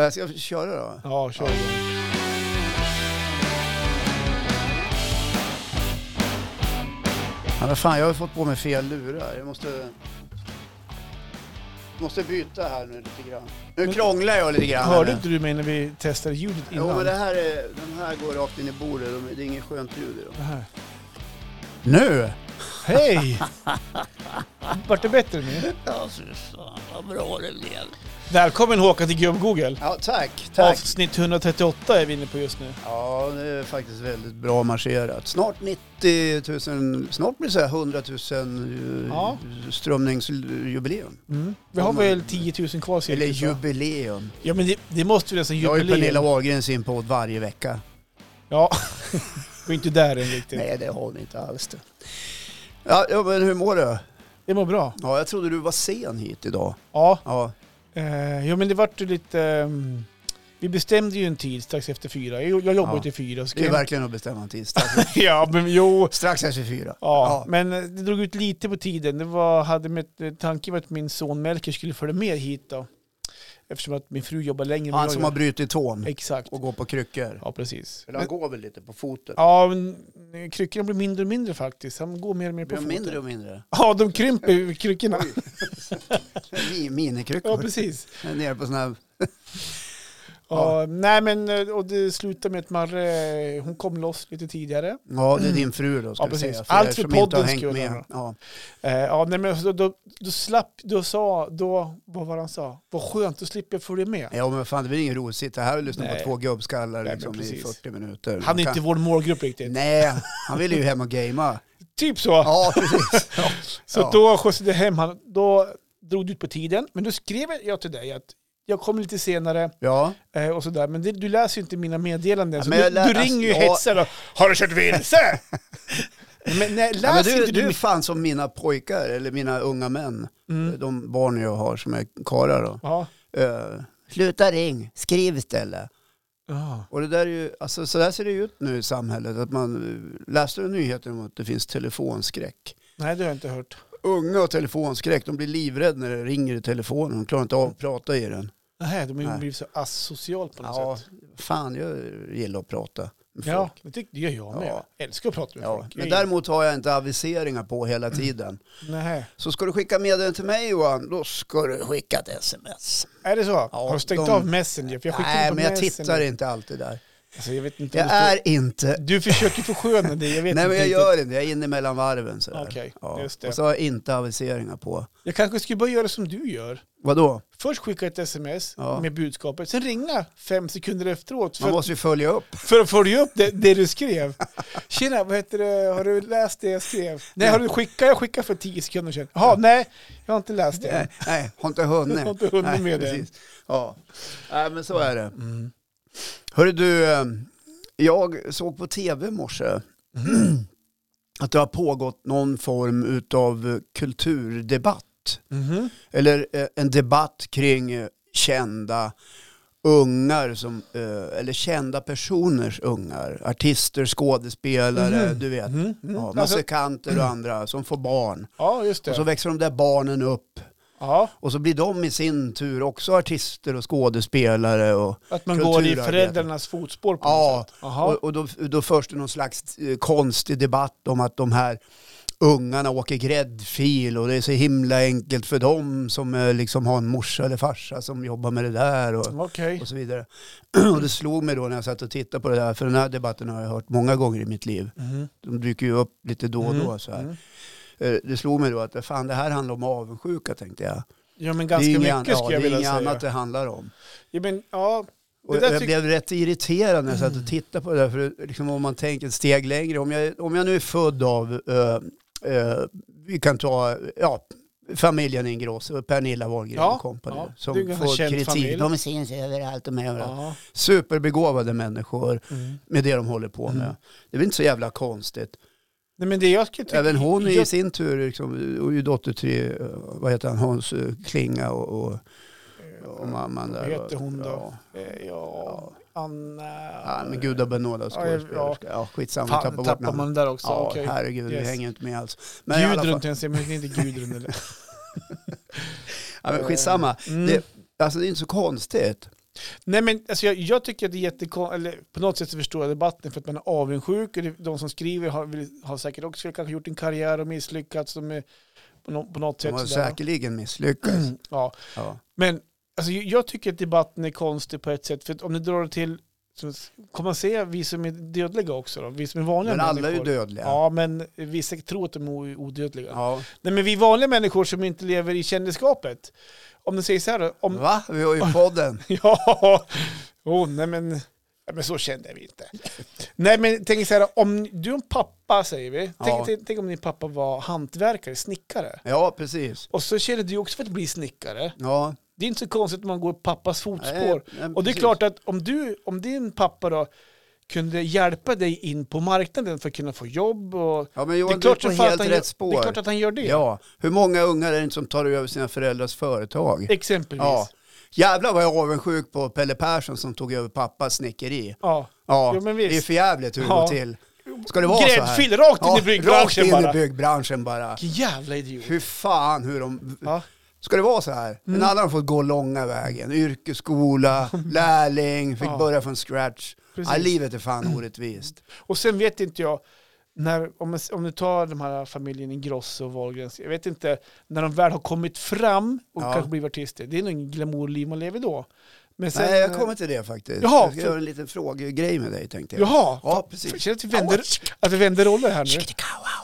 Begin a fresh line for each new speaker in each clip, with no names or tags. Eh, Ska jag köra då?
Ja, kör igång.
Ja, men fan, jag har ju fått på mig fel lurar. Jag måste... Måste byta här nu lite grann. Nu
Men-
krånglar jag lite grann. här
Hörde
nu.
inte du mig när vi testade ljudet innan?
Jo, men det här är, den här går rakt in i bordet. De- Det är inget skönt ljud i dem.
Det här.
Nu!
Hej! Vart det bättre nu?
Ja, fy fan vad bra det blev.
Välkommen Håkan till Gubb Google.
Ja, tack, tack.
Avsnitt 138 är vi inne på just nu.
Ja, det är faktiskt väldigt bra marscherat. Snart 90 000, snart blir det så här 100 000
Ja.
ja. strömningsjubileum.
Vi har väl 10 000 kvar cirka.
Mm. Eller
så.
jubileum.
Ja men det, det måste vi nästan
Jag har ju Pernilla
jubileum.
Wahlgren sin podd varje vecka.
Ja, vi är inte där än riktigt.
Nej, det har ni inte alls det. Ja, ja, men hur mår du?
Det mår bra.
Ja, jag trodde du var sen hit idag.
Ja,
Ja,
eh, jo men det vart ju lite... ehm, vi bestämde ju en tid strax efter fyra. Jag, jag jobbar
Ja.
till fyra. Så
det är
kan-
verkligen att bestämma en tisdag.
ja men jo.
Strax efter fyra.
Ja, men eh, det drog ut lite på tiden. Det var, hade med, eh, tanken var att min son Melker skulle följa med hit då. Eftersom att min fru jobbar längre än
Han
jag
som
gör.
har brutit tån
Exakt.
och går på kryckor.
Ja, precis.
Eller han går väl lite på foten.
Ja, men eh, kryckorna blir mindre och mindre faktiskt. Han går mer och mer på
Blir de
foten.
mindre och mindre?
Ja, de krymper ju, kryckorna.
Mi-
Ja,
Minikryckor.
precis.
Nere på sån här...
Ja. nej, men eh, och det slutade med att Marre, eh, hon kom loss lite tidigare.
Ja, det är din fru då ska
Mm. Ja,
vi
precis.
säga.
Allt
er
för
som inte har
poddens
hängt
skull,
med.
Anna.
Ja.
Eh, ja, nej, men då, då, då slapp, då sa, då, vad var det han sa? Vad skönt, då slipper jag följa med.
ja, men fan det blir ingen roligt att sitta här och lyssna
Nej.
på två gubbskallar
Nej, men
liksom, i
precis.
40 minuter.
Han är
Man
inte vår målgrupp riktigt.
Nej, han ville ju hem och gamea.
Typ så.
Ja, precis. Ja.
Så
Ja.
då skjutsade jag hem han. Då drog det ut på tiden. Men då skrev jag till dig att jag kommer lite senare
Ja,
eh, och sådär. Men det, du läser ju inte mina meddelanden.
Ja,
så
men
du,
jag lä-
du ringer ju
alltså, jag-
hetsar och har du kört vilse? Nej, men nej,
Ja,
läser
men du,
inte du,
du är
min-
fan som mina pojkar, eller mina unga män, Eh,
Mm.
de barn jag har som är karlar då.
Ja.
Eh, sluta ring, skriv istället.
Ja.
Och det där är ju, alltså, så där ser det ut nu i samhället. Att man, eh, läste du nyheten om att det finns telefonskräck?
Nej, det har jag inte hört.
Unga har telefonskräck, de blir livrädda när det ringer i telefonen. De klarar inte av att prata i den.
Nej, de har ju
Nej.
blivit så asociala på något
Ja,
sätt.
fan jag gillar att prata med
Ja,
folk.
men det det gör jag med.
Ja.
Jag älskar att prata med
Ja,
folk.
men
Jag-
däremot har jag inte aviseringar på hela tiden.
Nej.
Så ska du skicka meddelande till mig Johan, då ska du skicka ett sms.
Är det så? har du stängt
de-
av Messenger? För jag skickar
Nej,
på
men jag
Messenger.
tittar inte alltid där.
Alltså, jag vet inte
Jag
om det står-
är inte...
Du försöker försköna dig, jag vet
Nej,
inte
men jag
riktigt.
gör inte. Jag är inne mellan varven sådär.
Okej,
Ja.
just det.
Och så har jag inte aviseringar på.
Jag kanske skulle börja göra som du gör.
Vadå?
Först skicka ett sms
Ja.
med budskapet, sen ringa fem sekunder efteråt för,
Man måste ju följa upp.
för att följa upp det, det du skrev. Tjena, vad heter det? har du läst det jag skrev? Nej, har du skickat? Jag skickade för tio sekunder sedan. Jaha, nej, jag har inte läst det.
Nej, nej, har inte hunnit.
Jag har inte hunnit
nej,
med det.
precis. Ja, nej, men så är det.
Mm.
Hörru du, eh, jag såg på tv i
Mm.
morse att det har pågått någon form utav kulturdebatt.
Mhm.
Eller eh, en debatt kring eh, kända ungar, som, eh, eller kända personers ungar. Artister, skådespelare,
Mhm.
du vet.
Mhm. Mm.
Ja,
alltså,
musikanter och andra som får barn.
ja, just det.
Och så växer de där barnen upp.
ja,
Och så blir de i sin tur också artister och skådespelare. Och,
att man går i
kulturarbete.
föräldrarnas fotspår på
Ja,
något sätt. Jaha.
och, och då, då förs det någon slags eh, konstig debatt om att de här ungarna åker gräddfil och det är så himla enkelt för dem som eh, liksom har en morsa eller farsa som jobbar med det där och,
Okej.
och så vidare. Och det slog mig då när jag satt och tittade på det där, för den här debatten har jag hört många gånger i mitt liv.
Mhm.
De dyker ju upp lite då och då
Mm.
så här.
Mm.
Eh, Det slog mig då att fan, det här handlar om avundsjuka tänkte jag.
Ja, men
Det är
ganska
inget
mycket
annat- ja,
skulle jag
det är
vilja
inget
säga.
annat det handlar om.
Ja, men, ja,
Och
Det där
jag
tyck-
blev rätt irriterad när jag satt och tittade på det där. För det- liksom om man tänker ett steg längre. Om jag, om jag nu är född av, eh, eh, vi kan ta, ja, familjen Ingrosso, Pernilla Wahlgren
Ja,
och company.
ja. Det är en
som
ganska
får
känd
kritik.
familj.
De syns överallt och med överallt.
ja.
Superbegåvade människor
Mm.
med det de håller på med.
Mm.
Det är väl inte så jävla konstigt.
Nej, men det jag skulle tycka...
Även hon är i
jag,
sin tur, liksom, och ju dotter till, eh, vad heter han, Hans eh, Klinga och, och, och mamman där.
Eh, Vad heter hon då?
Ja.
Eh, Ja, Anna...
Ja, men gudabenådad
Ja, jag-
skådespelerska. Ja, skitsamma,
eh, Fan,
tappa bort
tappar
namnet.
man den där också?
Ja,
Okej.
herregud, vi
Yes.
hänger inte med alls. Men i alla
Gudrun
fall,
tänkte jag säga, men inte Gudrun eller...
ja, men skitsamma.
Mm.
Det, alltså, det är inte så konstigt.
Nej men alltså jag, jag tycker att det är jättekonstigt, eller på något sätt så förstår jag debatten för att man är avundsjuk och det, de som skriver har, vill- har säkert också kanske gjort en karriär och misslyckats de är, på, nå- på något
De
sätt.
har
sådär.
säkerligen misslyckats.
Ja.
Ja.
Men alltså, jag- jag tycker att debatten är konstig på ett sätt. För att om ni drar det till, så kommer man se vi som är dödliga också då? Vi som är vanliga
Men alla är ju
människor.
dödliga.
Ja, men vissa tror att de är odödliga.
Ja.
Nej, men vi vanliga människor som inte lever i kändisskapet. Om du säger så här då, om,
Va? Vi har ju podden.
Ja, oh, nej men, nej men så kände vi inte. Nej men tänk så här, om du är en pappa säger vi,
Ja.
tänk, tänk, tänk om din pappa var hantverkare, snickare.
Ja, precis.
Och så känner du också för att bli snickare.
Ja.
Det är inte så konstigt att man går i pappas
Nej,
fotspår.
nej,
och det är
precis.
klart att om, du, om din pappa då kunde hjälpa dig in på marknaden för att kunna få jobb och...
Ja, men Johan,
det är klart
du är
som
på
fan
helt
att han
rätt
gör,
spår.
Det är klart att han gör det.
Ja, hur många ungar är det inte som tar över sina föräldrars företag?
Exempelvis.
Ja.
Ja.
Jävlar vad jag är avundsjuk på Pelle Persson som tog över pappas snickeri. Ja,
Jo, men visst.
det är för jävligt hur det
Ja.
går till. Ska det vara så här?
Gräddfil rakt in i
rakt in
byggbranschen bara.
i byggbranschen bara.
Vilken jävla idiot.
Hur fan hur de...
Ja.
Ska det vara så här?
Mm.
Men alla har fått gå långa vägen. Yrkesskola, lärling, fick
Ja.
börja från scratch.
Precis.
Ja, livet är fan orättvist.
Och sen vet inte jag, när, om, man- om du tar de här familjen Ingrosso och Wahlgrens, jag vet inte, när de väl har kommit fram och
Ja.
kanske blivit artister, det är nog ingen glamourliv man lever då. Men sen,
Nej, jag kommer till det faktiskt.
Jaha,
jag ska
för-
göra en liten frågegrej med dig tänkte jag.
Jaha,
Ja,
jag
precis.
känner att vi vänder, att vi vänder roller här nu.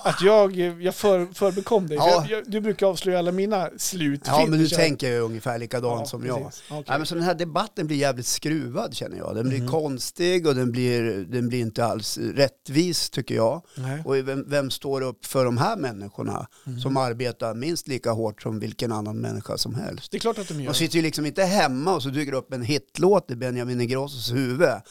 Att jag, jag för, förbekom dig.
Ja.
Jag, jag, du brukar avslöja alla mina slut.
Ja, men du tänker ju ungefär likadant som jag. Nej, men
men...
så den här debatten blir jävligt skruvad känner jag. Den blir
Mm.
konstig och den blir, den blir inte alls rättvis tycker jag.
Nej.
Och vem, vem står upp för de här människorna
Mm.
som arbetar minst lika hårt som vilken annan människa som helst?
Det är klart att de gör.
De sitter ju liksom inte hemma och så dyker det upp en hitlåt i Benjamin Ingrossos huvud. Mm.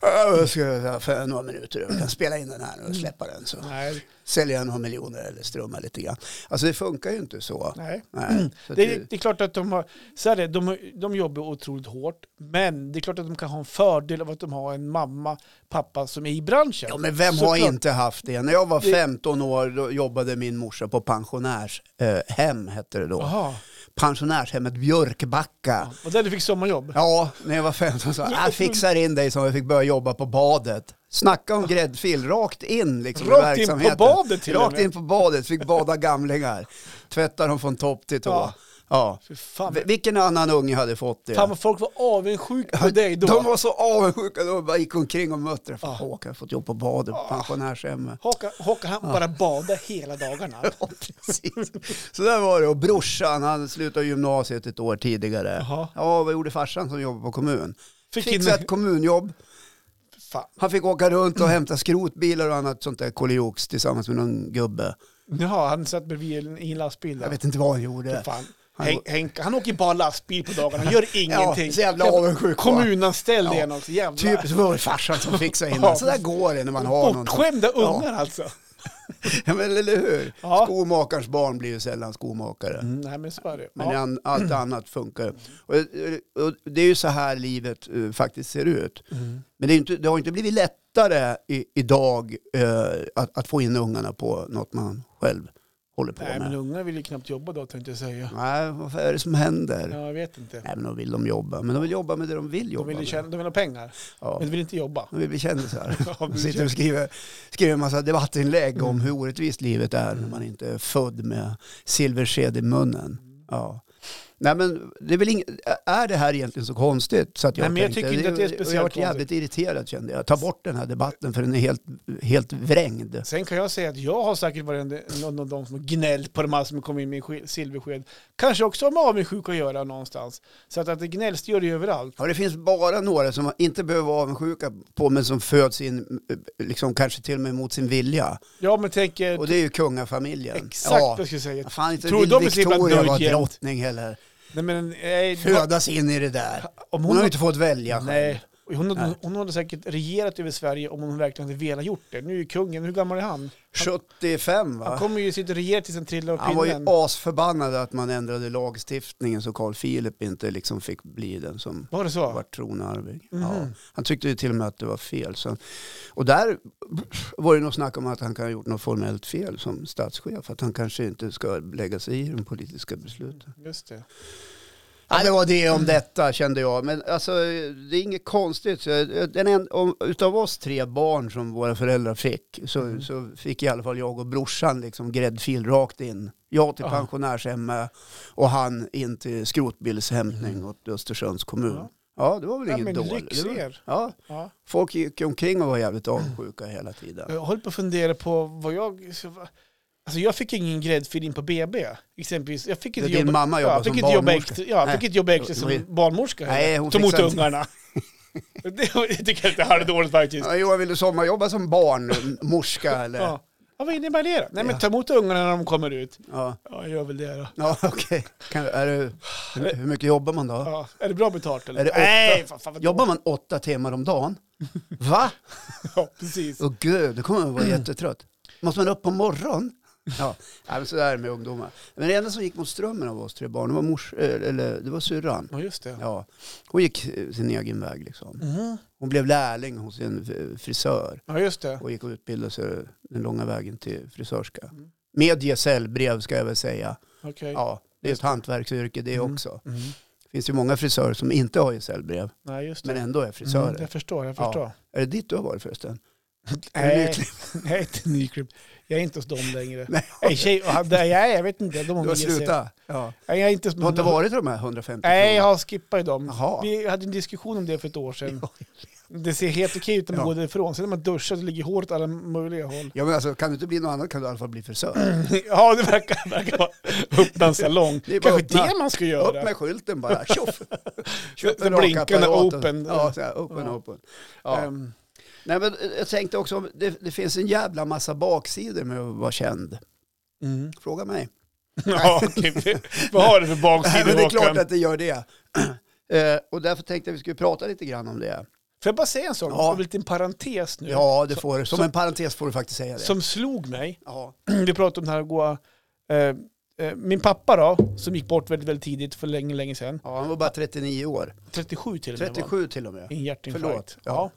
Jag ska ta för några minuter jag kan spela in den här och släppa den så
Nej,
säljer jag några miljoner eller strömmar lite grann. Alltså det funkar ju inte så.
nej.
Nej. Så att
Mm. Det är, det är klart att de, har, så här är, det, de, de jobbar otroligt hårt, men det är klart att de kan ha en fördel av att de har en mamma, pappa som är i branschen.
Ja, men vem har
Såklart.
inte haft det? När jag var
Det-
15 år då jobbade min morsa på pensionärshem, eh, hem hette det då.
Jaha,
Pensionärshemmet Björkbacka.
och där du fick sommarjobb.
Ja, när jag var 15 så jag fixar in dig som jag fick börja jobba på badet. Snacka om gräddfil, rakt in liksom i
Rakt in på
verksamheten.
badet till och
Rakt
med.
in på badet, fick bada gamlingar. Tvätta dem från topp till tå. Ja.
Ja. Fy fan,
V- Vilken annan unge hade fått det?
fan vad folk var avundsjuka på dig då.
De var så avundsjuka, de bara gick omkring och mötte det. Fan, Håkan har fått jobb på badet på pensionärshemmet.
Håkan, Håkan han bara badade hela dagarna.
Ja, precis. Så där var det. Och brorsan, han slutade gymnasiet ett år tidigare.
Jaha.
Ja, vad gjorde farsan som jobbade på kommun?
Fick
Fixade
in-
ett kommunjobb.
Fan.
Han fick åka runt och hämta skrotbilar och annat sånt där kolioks tillsammans med någon gubbe.
Jaha, han satt bredvid en- i en lastbil.
Jag
Där.
vet inte vad han gjorde.
Fan.
Han-
Hen- Henke, han åker bara lastbil på dagarna, han gör ingenting.
så jävla avundsjuk, va?
Kommunanställd
Ja.
är han också, jävla.
Typ så var det farsan som fixade in det. Så där går det när man har någonting.
Bortskämda ungar alltså.
Mm. Ja, men eller hur?
Ja.
Skomakarens barn blir ju sällan skomakare.
Mm, nej men så är det.
Men
Ja.
an, allt annat funkar. Och, och det är ju så här livet eh, faktiskt ser ut.
Mm.
Men det, är inte, det har inte blivit lättare i, idag eh, att, att få in ungarna på något man själv håller på
Nej,
med.
men ungar vill ju knappt jobba då tänkte jag säga.
Nej, vad är det som händer?
Ja, jag vet inte.
Nej, men de vill de jobba. Men de vill jobba med det de vill
De
jobba
vill, ju
med.
tjäna, de vill ha pengar,
Ja.
men de vill inte jobba.
De vill bli kändisar.
Ja, Mm.
De
men
sitter och skriver, skriver en massa debattinlägg om hur orättvist livet är när man inte är född med silversked i munnen. Ja. Nej men det är väl ing- är det här egentligen så konstigt? Så att jag
Nej, men jag
tänkte,
tycker inte att det är
och Jag
speciellt
har varit jävligt irriterad kände jag. Ta bort den här debatten för den är helt, helt vrängd.
Sen kan jag säga att jag har säkert varit en- någon av de som har gnällt på de här som kom in med ske- silversked. Kanske också har med avundsjuka att göra någonstans. Så att, att det gnälls gör det ju överallt.
Ja, det finns bara några som man inte behöver vara avundsjuka på men som föds in, liksom, kanske till och med mot sin vilja.
Ja men tänk, eh,
Och det är ju kungafamiljen.
exakt
Ja.
vad jag skulle säga.
Fan inte
Tror
Tror
du de
de
är så himla
Victoria var
nöjd jämt?
drottning heller.
Nej men, nej,
Födas in i det där.
om
Hon
hon,
har ju inte fått välja själv.
nej, hon, hade, hon hade säkert regerat över Sverige om hon verkligen hade velat gjort det. Nu är ju kungen, hur gammal är han?
75
Han
va?
kommer ju sitta och regera tills han trillar av
Han var ju
pinnen.
asförbannad att man ändrade lagstiftningen så Carl Philip inte liksom fick bli den som
Var det så?
var tronarving.
Mhm.
Ja. Han tyckte ju till och med att det var fel. Så. Och där var det nog snack om att han kan ha gjort något formellt fel som statschef. Att han kanske inte ska lägga sig i de politiska besluten.
Just det.
Ja, det var det
Mm.
om detta kände jag. Men alltså, det är inget konstigt. Så, Den en, om, utav oss tre barn som våra föräldrar fick så,
Mm.
så fick i alla fall jag och brorsan liksom gräddfil rakt in. Jag till
Ja.
pensionärshemmet och han in till skrotbilshämtning åt Östersunds kommun.
Mm. Ja.
Ja, det var väl
Ja,
inget
men
dåligt. Det var-
lyxer.
Ja,
Ja.
folk gick omkring och var jävligt
Mm.
avsjuka hela tiden.
Jag håller på att fundera på vad jag... Alltså jag fick ingen gräddfil in på BB. Exempelvis. Jag fick inte
Din mamma
ja,
jobbar
jag fick
som
inte jobba
barnmorska.
extra, ja, jag
Nej.
fick inte jobba extra
Det
som
var-
barnmorska.
Nej,
heller.
hon
Ta emot
fixade inte-
ungarna. det, det tycker jag inte är halvdåligt faktiskt.
Ja, Johan, vill du sommarjobba som barnmorska eller?
Ja. Ja, vad innebär det då? Nej men
Ja.
ta emot ungarna när de kommer ut.
Ja,
Ja, jag gör väl det då.
ja okej. Kan- är du- hur- Hur mycket jobbar man då?
Ja. Är det bra betalt eller?
Är det åtta?
Nej, fan, fan, vad
Jobbar man åtta timmar om dagen? Va?
dåligt. Ja, precis.
Åh gud, då kommer man vara jättetrött. Måste man upp på morgonen? Ja, Nej, men så är det med ungdomar. Men det enda som gick mot strömmen av oss tre barn, det var, mors, eh, eller, det var syrran.
Ja, just det.
Ja, hon gick eh, sin egen väg liksom.
Mhm.
Hon blev lärling hos en eh, frisör
Ja, just det.
och gick och utbildade sig den långa vägen till frisörska.
Mm.
Med gesällbrev ska jag väl säga.
Okej.
Ja, det är ett hantverksyrke det
Mm.
också.
Mm.
Det finns ju många frisörer som inte har gesällbrev,
Nej, just det.
men ändå är
Mm,
frisörer.
jag förstår, jag
Ja.
förstår.
Är det ditt du har varit förresten? Är du nyklippt?
Nej, jag är inte nyklippt. Jag är inte hos dem längre.
Nej.
Nej, tjej, och han- nej, jag vet inte. De har
Du har
mycket att säga.
slutat? Ja.
Nej, jag är inte,
Du har inte varit de här 150
Nej, jag
kronorna?
har skippat dem.
Jaha.
Vi hade en diskussion om det för ett år sedan. Det ser helt okej ut när man
Ja.
går därifrån. Sen när man duschar så ligger håret åt alla möjliga håll.
Ja, men alltså, kan du inte bli något annat kan du i alla fall bli
Mm.
frisör.
Ja, det verkar, verkar vara öppna en salong.
Det är bara
Kanske
öppna.
det man ska
Upp
göra.
med skylten bara, tjoff! Köp
Den
en
blinkande
rakapparaten.
open.
Ja, så här, open,
Ja.
open. Ja.
Ehm,
Nej, men eh, jag tänkte också, det, det finns en jävla massa baksidor med att vara känd.
mm.
Fråga mig.
Ja, okej. Vad har du för
Nej,
baksida
men det är klart
Håkan?
att det gör det. Eh, och därför tänkte jag att vi skulle prata lite grann om det.
Får jag bara säga en sak?
Ja.
En liten parentes nu.
Ja, det får, som
så-
en parentes får du faktiskt säga det.
Som slog mig.
ja.
vi pratade om det här att gå... Eh, eh, min pappa då, som gick bort väldigt, väldigt tidigt för länge, länge sedan.
ja, han var bara 39 år.
37 till och med.
37 till och med.
Var, en hjärtinfarkt.
Förlåt,
Ja.
ja.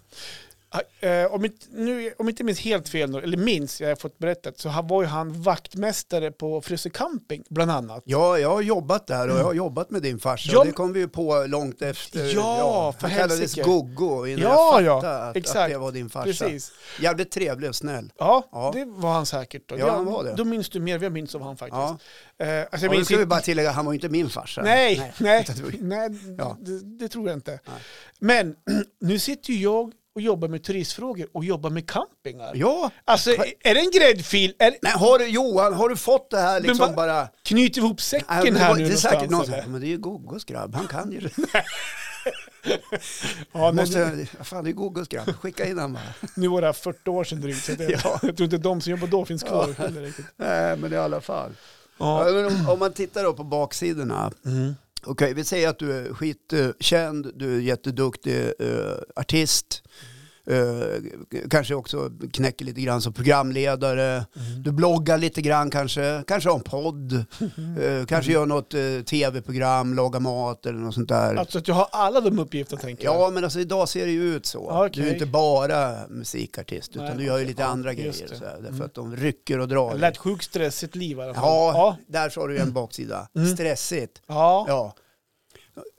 Eh, om, inte, nu, om inte minns helt fel, nu, eller minns, jag har fått berättat, så han var ju han vaktmästare på Frösö Camping, bland annat.
Ja, jag har jobbat där och jag har jobbat med din farsa.
Ja,
och det
men-
kom vi ju på långt efter.
Ja, för
Han kallades
helsike.
Goggo innan
Ja,
jag
ja,
fattade att,
exakt.
att det var din farsa.
Precis.
Jävligt trevlig och snäll.
Ja,
Ja.
det var han säkert. Då.
Ja, han var det.
Då minns du mer än vad jag minns av han faktiskt.
Ja.
Eh, alltså
Jag
jag
och då
minns
ska vi
inte,
bara tillägga, han var ju inte min farsa.
Nej, nej,
utan det var
nej,
ju- Ja.
det, det tror jag inte.
Nej.
Men nu sitter ju jag och jobbar med turistfrågor och jobbar med campingar.
Ja,
Alltså, är är det en gräddfil? Är,
men har du, Johan, har du fått det här liksom
va-
bara...
knyter vi ihop
Nej,
säcken
men
här
var-
nu
det är säkert någon som
någonstans? eller?
men det är ju Goggos grabb, han kan ju.
Ja, men
Måste, fan, det är Goggos grabb, skicka in han bara.
Nu var det här 40 år sedan drygt, så det,
Ja.
jag tror inte de som jobbar då finns kvar. heller riktigt.
Nej, men i alla fall.
Ja. Mm.
Ja, men om, om man tittar då på baksidorna. Okej, vi säger att du är skitkänd, du är jätteduktig eh, artist.
Mm.
Eh, kanske också knäcker lite grann som programledare.
Mm.
Du bloggar lite grann kanske, kanske har en podd.
Mm.
Eh, kanske gör något eh, tv-program, lagar mat eller något sånt där.
Alltså att jag har alla de uppgifterna tänker jag.
Ja, men alltså idag ser det ju ut så.
Ja, okej.
Du är inte bara musikartist, utan
Nej,
du gör ju
okej.
lite
Ja,
andra
just
grejer.
det.
och Så här, därför
Mm.
att de rycker och drar.
Det lät sjukt stressigt liv i alla fall.
Ja, där har du ju en baksida.
Mm.
Stressigt.
ja.
Ja.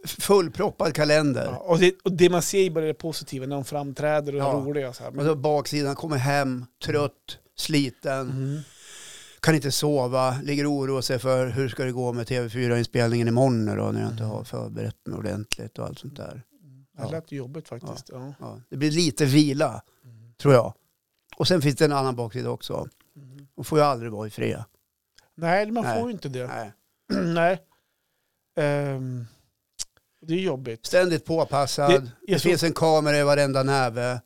Fullproppad kalender.
Ja, och, det, och det man ser är bara det positiva när de framträder och är
Ja.
roliga. Så här.
Och
Men,
så Alltså, baksidan, kommer hem, trött, sliten,
mm.
kan inte sova, ligger och oroar sig för hur ska det gå med TV4-inspelningen imorgon nu då, när jag inte
Mm.
har förberett mig ordentligt och allt sånt där.
Det här lät ju jobbigt faktiskt. Ja.
Ja, det blir lite vila, tror jag. Och sen finns det en annan baksida också.
Mm.
De får ju aldrig vara i fred.
Nej, man
Nej.
får ju inte det.
Nej.
Nej. Ehm, det är jobbigt.
Ständigt påpassad.
Det-
Det,
jag tror- Mm.
finns en kamera i varenda näve.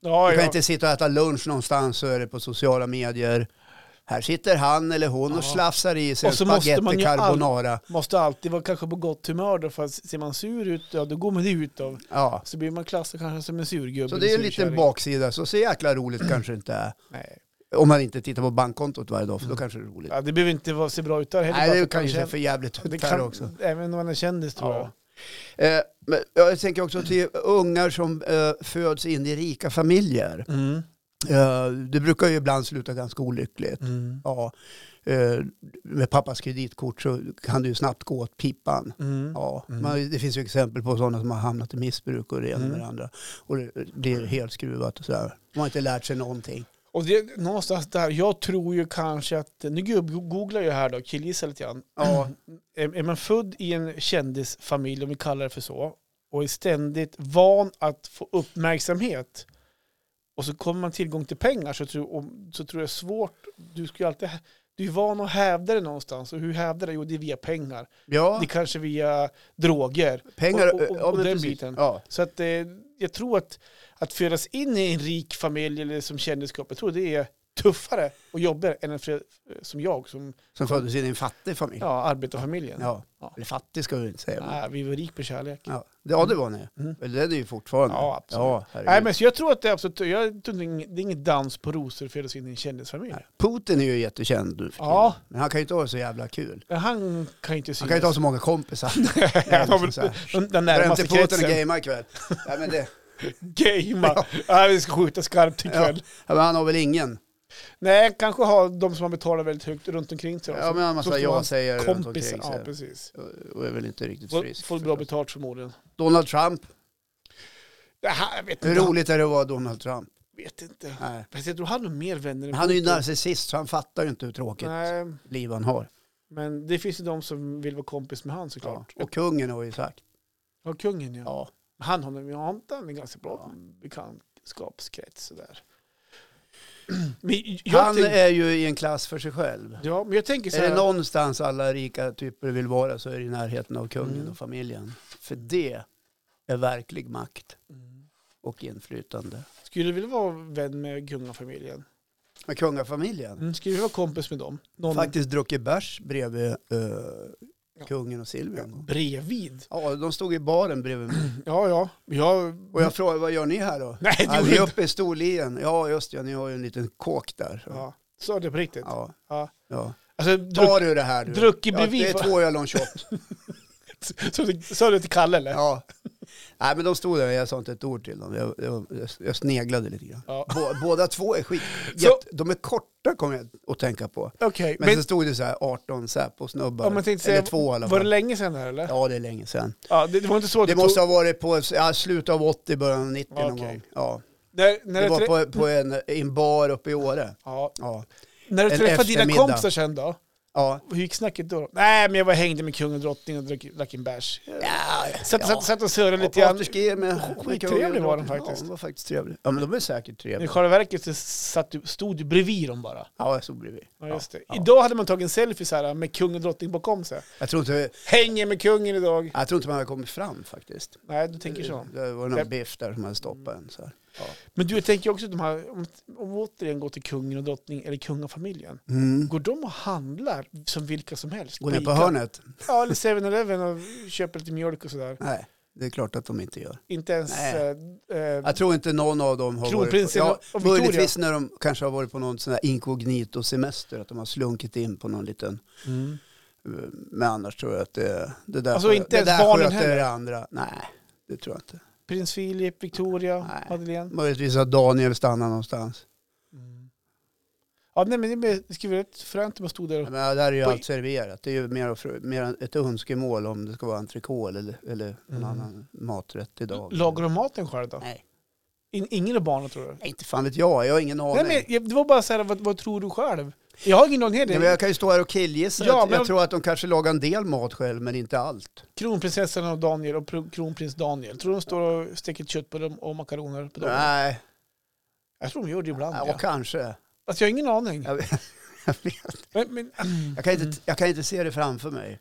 Ja,
Du kan
ja.
inte sitta och äta lunch någonstans så är det på sociala medier. Här sitter han eller hon
Ja.
och slafsar i sig
Och
en
så måste man
spagetti
ju all-
carbonara.
Måste alltid vara kanske på gott humör då, för att ser man sur ut, ja, då går man det ut av.
Ja.
Så blir man klassad kanske som en surgubbe.
Så
eller
det är en
surkärring.
liten baksida. Så så jäkla roligt kanske det inte är.
Nej.
Om man inte tittar på bankkontot varje dag för då kanske det är roligt.
Mm. Ja, det behöver inte vara, se bra ut där heller. bara
Nej,
för
det
att
kan
man
ju se
känner-
för jävligt
det
ut där
kan,
också.
Även om man är kändis tror jag.
Ja. Eh, men jag tänker också till ungar som eh, föds in i rika familjer.
Mm.
Eh, det brukar ju ibland sluta ganska olyckligt.
Mm.
Ja. Eh, eh, med pappas kreditkort så kan det ju snabbt gå åt pipan.
Mm.
Ja,
Mm.
man, det finns ju exempel på sådana som har hamnat i missbruk och det ena
Mm.
med det andra. Och det blir helt skruvat och sådär. De har inte lärt sig någonting.
Och det, någonstans där, jag tror ju kanske att, nu gubb- googlar jag här då, killgissar lite grann.
Ja,
Är, är man född i en kändisfamilj, om vi kallar det för så, och är ständigt van att få uppmärksamhet, och så kommer man tillgång till pengar, så tror, om, så tror jag svårt, du ska ju alltid, hä- du är van att hävda det någonstans, och hur hävdar det? Jo, det är via pengar.
ja
Det är kanske via droger.
pengar.
och- och-
ja,
och
men
den
precis.
biten.
Ja.
Så att eh, jag tror att, att födas in i en rik familj eller som kändiskap, jag tror det är tuffare och jobbigare än en fred, som jag, som
Som föddes in i en fattig familj.
ja, arbetarfamiljen.
Ja.
Ja.
Eller fattig ska vi inte säga. men-
Nej, vi var rik på kärlek.
Ja, det, ja, det var ni.
Mm.
Eller det är det ju fortfarande.
Ja, absolut.
Ja,
Nej,
herregud.
men så jag tror att det är absolut, jag tror det är ingen- det är ingen dans på rosor för att in i en kändisfamilj.
Putin är ju jättekänd nu för tiden.
Ja.
Men han kan ju inte ha så jävla kul.
Han kan ju inte synas.
Han kan ju inte ha så många kompisar.
Han har väl-
så här.
den, den
Dra hem
närmaste
till Putin och
kretsen.
gamea ikväll. Ja, men det,
Gamea. Nej, vi ska skjuta skarpt ikväll.
ja, men han har väl ingen.
Nej, kanske ha de som har betalat väldigt högt runt omkring sig. då,
Ja,
som-
men han
som
massa
får ha
jag säger runt
Kompisar,
omkring
ja
sig.
precis.
Och är väl inte riktigt
Får,
frisk.
får bra betalt förmodligen.
Donald Trump.
Det här, jag vet
Hur
inte.
roligt är det att vara Donald Trump?
Jag vet inte.
Nej.
Fast jag tror han har mer vänner än
Men han är ju
Putin.
narcissist så han fattar ju inte hur tråkigt
Nej,
liv han har.
men det finns ju de som vill vara kompis med han
Ja.
såklart.
Och kungen har ju sagt.
Ja, kungen ja.
Ja.
Han har ju han har en ganska bra
Ja.
bekantskapskrets sådär. Men jag,
Han
tänk,
är ju i en klass för sig själv.
ja, men jag tänker så
Är det
här.
någonstans alla rika typer vill vara så är det i närheten av kungen
Mm.
och familjen. För det är verklig makt
Mm.
och inflytande.
Skulle du vilja vara vän med kungafamiljen?
Men kungafamiljen,
Mm. Skulle du vilja vara kompis med dem? Någon
faktiskt druckit bärs bredvid eh, kungen och Silvia. en gång.
bredvid?
Ja, de stod i baren bredvid mig.
Ja, ja. Jag,
Och jag frågade, vad gör ni här då?
Nej, det
Ja,
gjorde
vi är
jag
uppe i Storlien. Ja, just det, ni har ju en liten kåk där. Ja.
Ja. Sa du det på riktigt?
Ja.
Ja.
Ja.
Alltså,
Tar du det här du?
druckit
ja, det
bredvid.
är två öl och en shot.
Sa du- Sa du det till Kalle eller?
Ja. Nej, men de stod där och jag sa inte ett ord till dem. Jag, jag, jag sneglade lite grann.
Ja.
Bå, båda två är skit.
Så-
Jätte, de är korta kommer jag att tänka på.
Okej,
Men,
men,
så stod det så här 18 Säpo-snubbar.
ja, men tänkte säga,
eller två i alla
var det
fall.
länge sedan det här eller? Ja,
Ja, det är länge sedan.
det, det var inte så att
Det
du
måste
tog,
ha varit på ja, slutet av 80, början av 90 någon
Okej.
gång. Ja.
när, när,
Det
du
var
trä,
på, på en, i en bar uppe i Åre.
ja,
Ja.
när du
en
träffade dina
eftermiddag.
kompisar sen då?
Ja.
Hur gick snacket då? Nej, men jag var hängde med kung och drottning och drack, drack en bärs.
ja.
Satt, satt, satt och surrade lite
Och på
grann.
afterski med...
Skittrevlig var de
Ja,
faktiskt.
de var faktiskt trevliga. Ja, men de är säkert
I
trevliga.
själva verket så satt du, stod du bredvid dem bara.
Ja, jag stod bredvid.
Ja, just det.
Ja.
Idag hade man tagit en selfie så här med kung och drottning bakom sig.
Jag tror inte,
Hänger med kungen idag.
jag tror inte man hade kommit fram faktiskt.
Nej, du tänker så. Mm.
Det var
Jag-
någon biff där som hade stoppat en. Så här. Ja.
Men du, jag tänker också att de här, om, om vi återigen går till kungen och drottning eller kungafamiljen.
Mm.
Går de och handlar som vilka som helst?
Går ner på
Ica?
hörnet?
Ja, eller 7-Eleven och köper lite mjölk och sådär.
Nej, det är klart att de inte gör.
Inte ens...
Nej.
Eh, eh,
Jag tror inte någon av dem har
Kronprinsen
varit på...
och Victoria.
Möjligtvis när de kanske har varit på någon sån här inkognito-semester, att de har slunkit in på någon liten...
mm.
eh, Men annars tror jag att det, det där,
Alltså,
skö-
inte
det
ens
där
barnen
sköter
heller?
det andra. Nej, det tror jag inte.
Prins Philip, Victoria,
Nej.
Madeleine.
Möjligtvis att Daniel stannar någonstans.
Mm. Ja, nej, men det- det skulle vara rätt fränt om man stod där och...
Men det där är ju
På-
allt serverat. Det är ju mer, fr- mer ett önskemål om det ska vara entrecote eller, eller någon
Mm.
annan maträtt idag.
Lagar de maten själv då?
Nej.
In, ingen av barnen tror du?
Nej, inte fan vet jag. Jag har ingen aning.
Nej, men jag- det var bara så här, vad, vad tror du själv? Jag har ingen aning.
Nej, men jag kan ju stå här och killgissa.
Ja,
jag,
men-
jag tror att de kanske lagar en del mat själv, men inte allt.
Kronprinsessan och Daniel och pr- kronprins Daniel. Tror du de står och steker köttbullar och makaroner på dagen?
Nej,
Jag tror de gör det ibland.
ja,
Ja.
kanske.
Alltså, jag har ingen aning.
Jag, vet- jag, vet.
Men, men, Mm.
jag, kan inte, jag kan inte se det framför mig.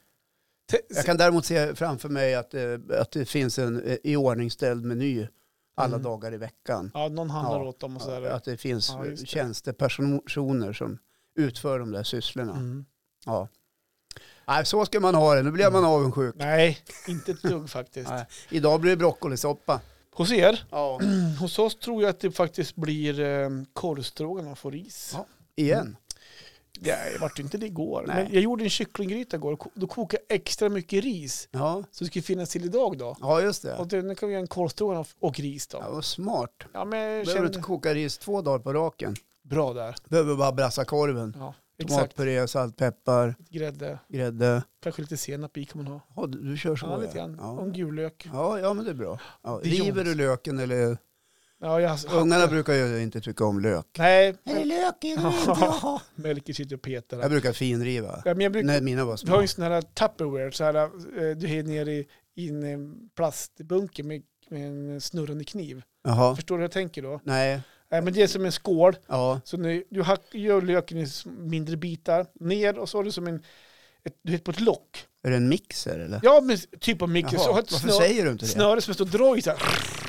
te-
Jag kan däremot se framför mig att, eh, att det finns en eh, iordningställd meny alla
Mm.
dagar i veckan.
Ja, någon handlar
Ja,
åt dem och sådär.
Att det finns
Ja,
eh,
just det.
tjänstepersoner som utför de där sysslorna.
Mm.
Ja. Nej, så ska man ha det. Nu blir man
Mm.
avundsjuk.
Nej, inte ett dugg faktiskt.
Nej. Idag blir det broccolisoppa.
Hos er,
Ja.
hos oss tror jag att det faktiskt blir eh, korvstroganoff och ris.
Ja. Igen.
Det vart ju inte det igår.
Nej.
Men jag gjorde en kycklinggryta igår. och ko- Då kokade jag extra mycket ris.
Ja.
Så det skulle finnas till idag då.
ja, just
Och
det.
det, nu kan vi göra en korvstroganoff och ris då.
Ja, vad smart.
Ja, men jag
Behöver
kände
du inte koka ris två dagar på raken.
bra där.
Behöver bara brassa korven.
Ja. Exakt.
Tomatpuré, saltpeppar,
Grädde.
grädde.
Kanske lite senap i kan man ha.
Ja, du, du kör så
Ja, lite grann. Och
Ja.
en gul lök.
Ja, ja, men det är bra. Ja,
Det är
river du
jobbigt.
löken eller?
Ja, jag,
Ungarna brukar ju inte tycka om lök.
Nej,
Är det lök i?
vill inte jag Melker sitter och petar.
Jag brukar finriva.
Ja, men jag brukar,
När mina var
Vi har ju
små.
en sån här Tupperware, så här, eh, du är nere i i en eh, plastbunke med, med en snurrande kniv.
Jaha.
Förstår du hur jag tänker då?
Nej.
Nej, men det är som en skål,
Ja.
så nu, du hack, gör löken i s- mindre bitar, ner och så har du som en, ett, du vet på ett lock.
Är det en mixer eller?
Ja, men s- typ av mikro, så har ett
Varför
snö,
säger du inte det?
snöre som det står drag i så här.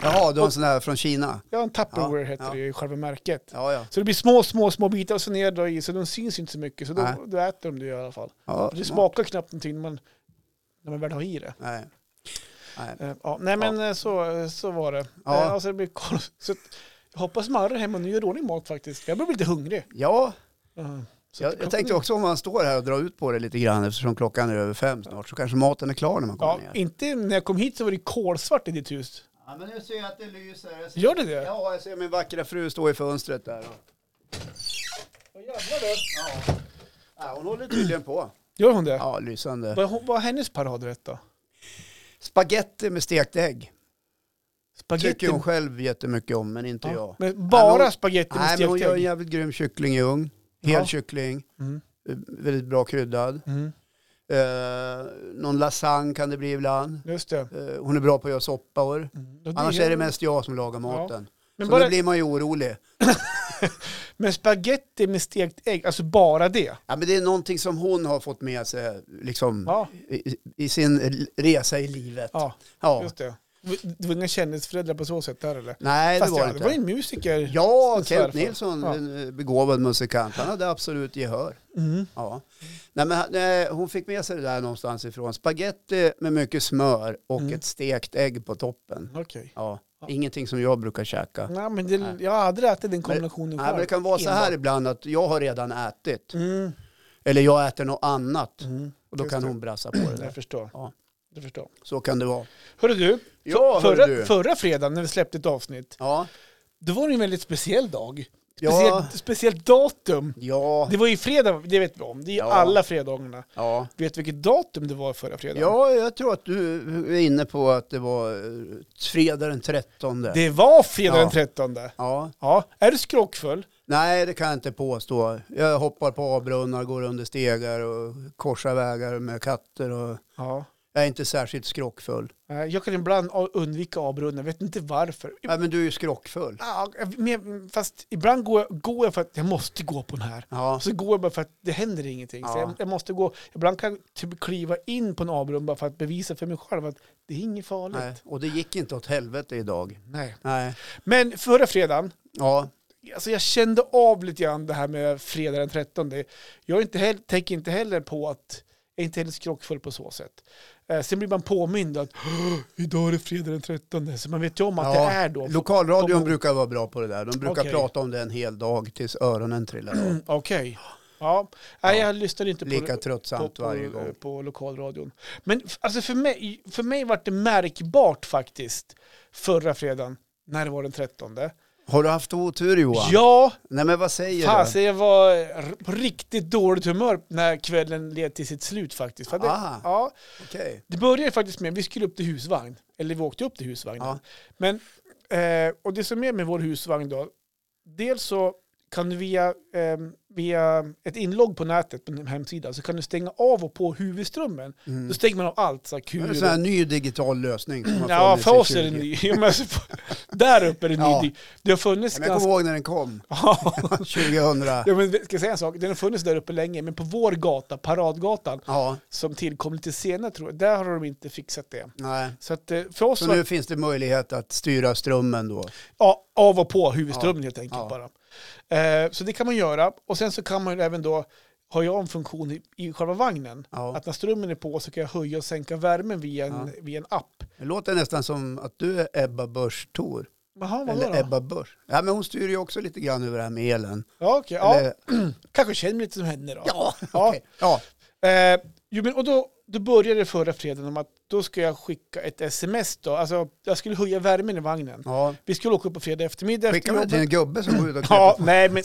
Jaha, du har en sån här från Kina.
Ja, en Tupperware
Ja,
heter
ja.
det ju, själva märket.
Ja, ja.
Så det blir små, små, små bitar och så ner då i, så de syns ju inte så mycket, så
Nej.
då, då äter de det i alla fall.
ja.
Det smakar knappt någonting när man, när man väl har i det.
Nej. Nej.
Eh, Ja, nej men eh, Så, så var det.
Ja.
Ja. Alltså, det blir kol- så att, jag hoppas Marre hem och nu gör ordning mat faktiskt. Jag börjar bli lite hungrig.
Ja,
Eh, så att-
jag, jag tänkte också om man står här och drar ut på det lite grann eftersom klockan är över fem snart så kanske maten är klar när man kommer
Ja,
ner.
inte när jag kom hit så var det kolsvart i ditt hus.
Ja, men nu ser jag att det lyser. Jag ser-
Gör det det?
Ja, jag ser min vackra fru stå i fönstret där. och- Ja. Ja, hon håller tydligen på.
Gör hon det?
Ja, lysande.
Vad vad är hennes paradrätt då?
Spaghetti med stekt ägg.
Spagetti?
Tycker hon själv jättemycket om, men inte jag.
Men bara
Nej, men hon-
spagetti med
Nej, men hon
stekt
gör en
ägg?
jävligt grym kyckling i ugn. Hel
Ja.
kyckling,
Mm.
eh, väldigt bra kryddad.
Mm.
Eh, någon lasagne kan det bli ibland.
Just det.
Eh, hon är bra på att göra soppor.
Mm. Ja,
Annars är det mest jag som lagar maten.
Men,
Så
bara,
då blir man ju orolig.
men spagetti med stekt ägg, alltså bara det?
Ja, men det är någonting som hon har fått med sig liksom,
Ja,
i, i sin resa i livet.
ja
Ja.
just det. Det var inga kändisföräldrar på så sätt där eller?
Nej, det
Fast
var
ja,
det
det var ju
inte.
en musiker.
Ja,
Sin
Kent
svärfar.
Nilsson,
Ja.
en eh, begåvad musikant, han hade absolut gehör.
Mm.
Ja. Nej, men, han- nej, hon fick med sig det där någonstans ifrån. Spaghetti med mycket smör och
Mm.
ett stekt ägg på toppen.
Okej.
Ja.
Ja. Mm,
Ingenting som jag brukar käka.
Nej, men det,
Nej.
jag har aldrig ätit den kombinationen
Nej, men det kan vara så här ibland att jag har redan ätit.
Mm.
Eller jag äter något annat.
Mm.
Och då
Just
kan
det.
hon brassa på det
Jag
där.
förstår.
Ja.
Jag förstår.
Så kan det vara.
Hörru du,
Ja, hör
förra,
du.
förra fredagen när vi släppte ett avsnitt,
Ja,
då var det en väldigt speciell dag.
ja,
Speciellt, speciellt datum.
ja,
Det var ju fredag, det vet vi om. Det är ju
Ja.
alla fredagarna.
ja.
Vet du vilket datum det var förra fredagen?
Ja, jag tror att du är inne på att det var eh, fredag den 13.
Det var fredag
Ja.
den 13.
Ja.
Ja. Är du skrockfull?
Nej, det kan jag inte påstå. Jag hoppar på avbrunnar, går under stegar och korsar vägar med katter. Och
Ja.
jag är inte särskilt skrockfull.
Nej, Jag kan ibland a- undvika avbrunnen, jag vet inte varför.
Nej, men du är ju skrockfull.
Ja, men- Fast ibland går jag, går jag för att jag måste gå på den här.
Ja,
Och så går jag bara för att det händer ingenting. Så
Ja.
jag, jag måste gå. Ibland kan jag typ kliva in på en avgrund bara för att bevisa för mig själv att det är inget farligt.
nej.
Nej.
och det gick inte åt helvete idag. Nej,
Men förra fredagen,
ja,
alltså jag kände av lite grann det här med fredag den 13. Jag är inte heller, tänker inte heller på att jag är inte heller skrockfull på så sätt. Eh, sen blir man påmind att "Åh, idag är det fredag den 13. Så man vet ju om att
Ja,
det är då.
lokalradion
Kom-
brukar vara bra på det där. De brukar
Okej. Mm.
prata om det en hel dag tills öronen trillar av.
Okej. Ja. Nej, jag lyssnar inte på
Lika
på,
tröttsamt
på,
varje gång.
på lokalradion. Men f- alltså för mig, för mig var det märkbart faktiskt förra fredagen, när det var den 13.
Har du haft otur Johan?
Ja,
Nej men vad säger du?
fasen jag var r- på riktigt dåligt humör när kvällen led till sitt slut faktiskt. För att det,
Ah.
ja,
Okej.
det började faktiskt med, vi skulle upp till husvagn, eller vi åkte upp till husvagnen.
Ja.
Men, eh, och det som är med vår husvagn då, dels så kan du via, eh, via ett inlogg på nätet, på hemsidan, så kan du stänga av och på huvudströmmen.
Mm.
Då stänger man av allt. Så här,
Det är
kur
en sån här ny digital lösning som har
Ja,
funnits
för
i
oss är det
20.
ny. Ja, men alltså, där uppe är det ny.
Ja.
Det har funnits
Men jag
ganska...
kommer ihåg när den kom,
Ja,
2000.
ja, men ska jag säga en sak? Den har funnits där uppe länge, men på vår gata, Paradgatan,
Ja,
som tillkom lite senare tror jag, där har de inte fixat det.
nej.
Så att, eh, för oss
Så
var
nu finns det möjlighet att styra strömmen då.
Ja, av och på huvudströmmen helt enkelt
Ja.
bara. Eh, så det kan man göra. Och sen så kan man ju även då, har jag en funktion i, i själva vagnen,
Ja.
att när strömmen är på så kan jag höja och sänka värmen via en, via en app.
Det låter nästan som att du är Ebba Busch Thor.
Jaha, vadå
Eller
då?
Ebba Busch. Ja, men hon styr ju också lite grann över det här med elen.
Ja, okej. ja.
Eller,
Kanske känner mig lite som henne då.
ja,
Ja.
okej. ja.
Eh, jo, men, och då, då började det förra fredagen om att då ska jag skicka ett sms då. Alltså, jag skulle höja värmen i vagnen.
ja.
Vi skulle åka upp på fredag eftermiddag.
Skickar man
efter
till en
jobbet.
gubbe som går ut och knäpper
Ja,
på-
nej men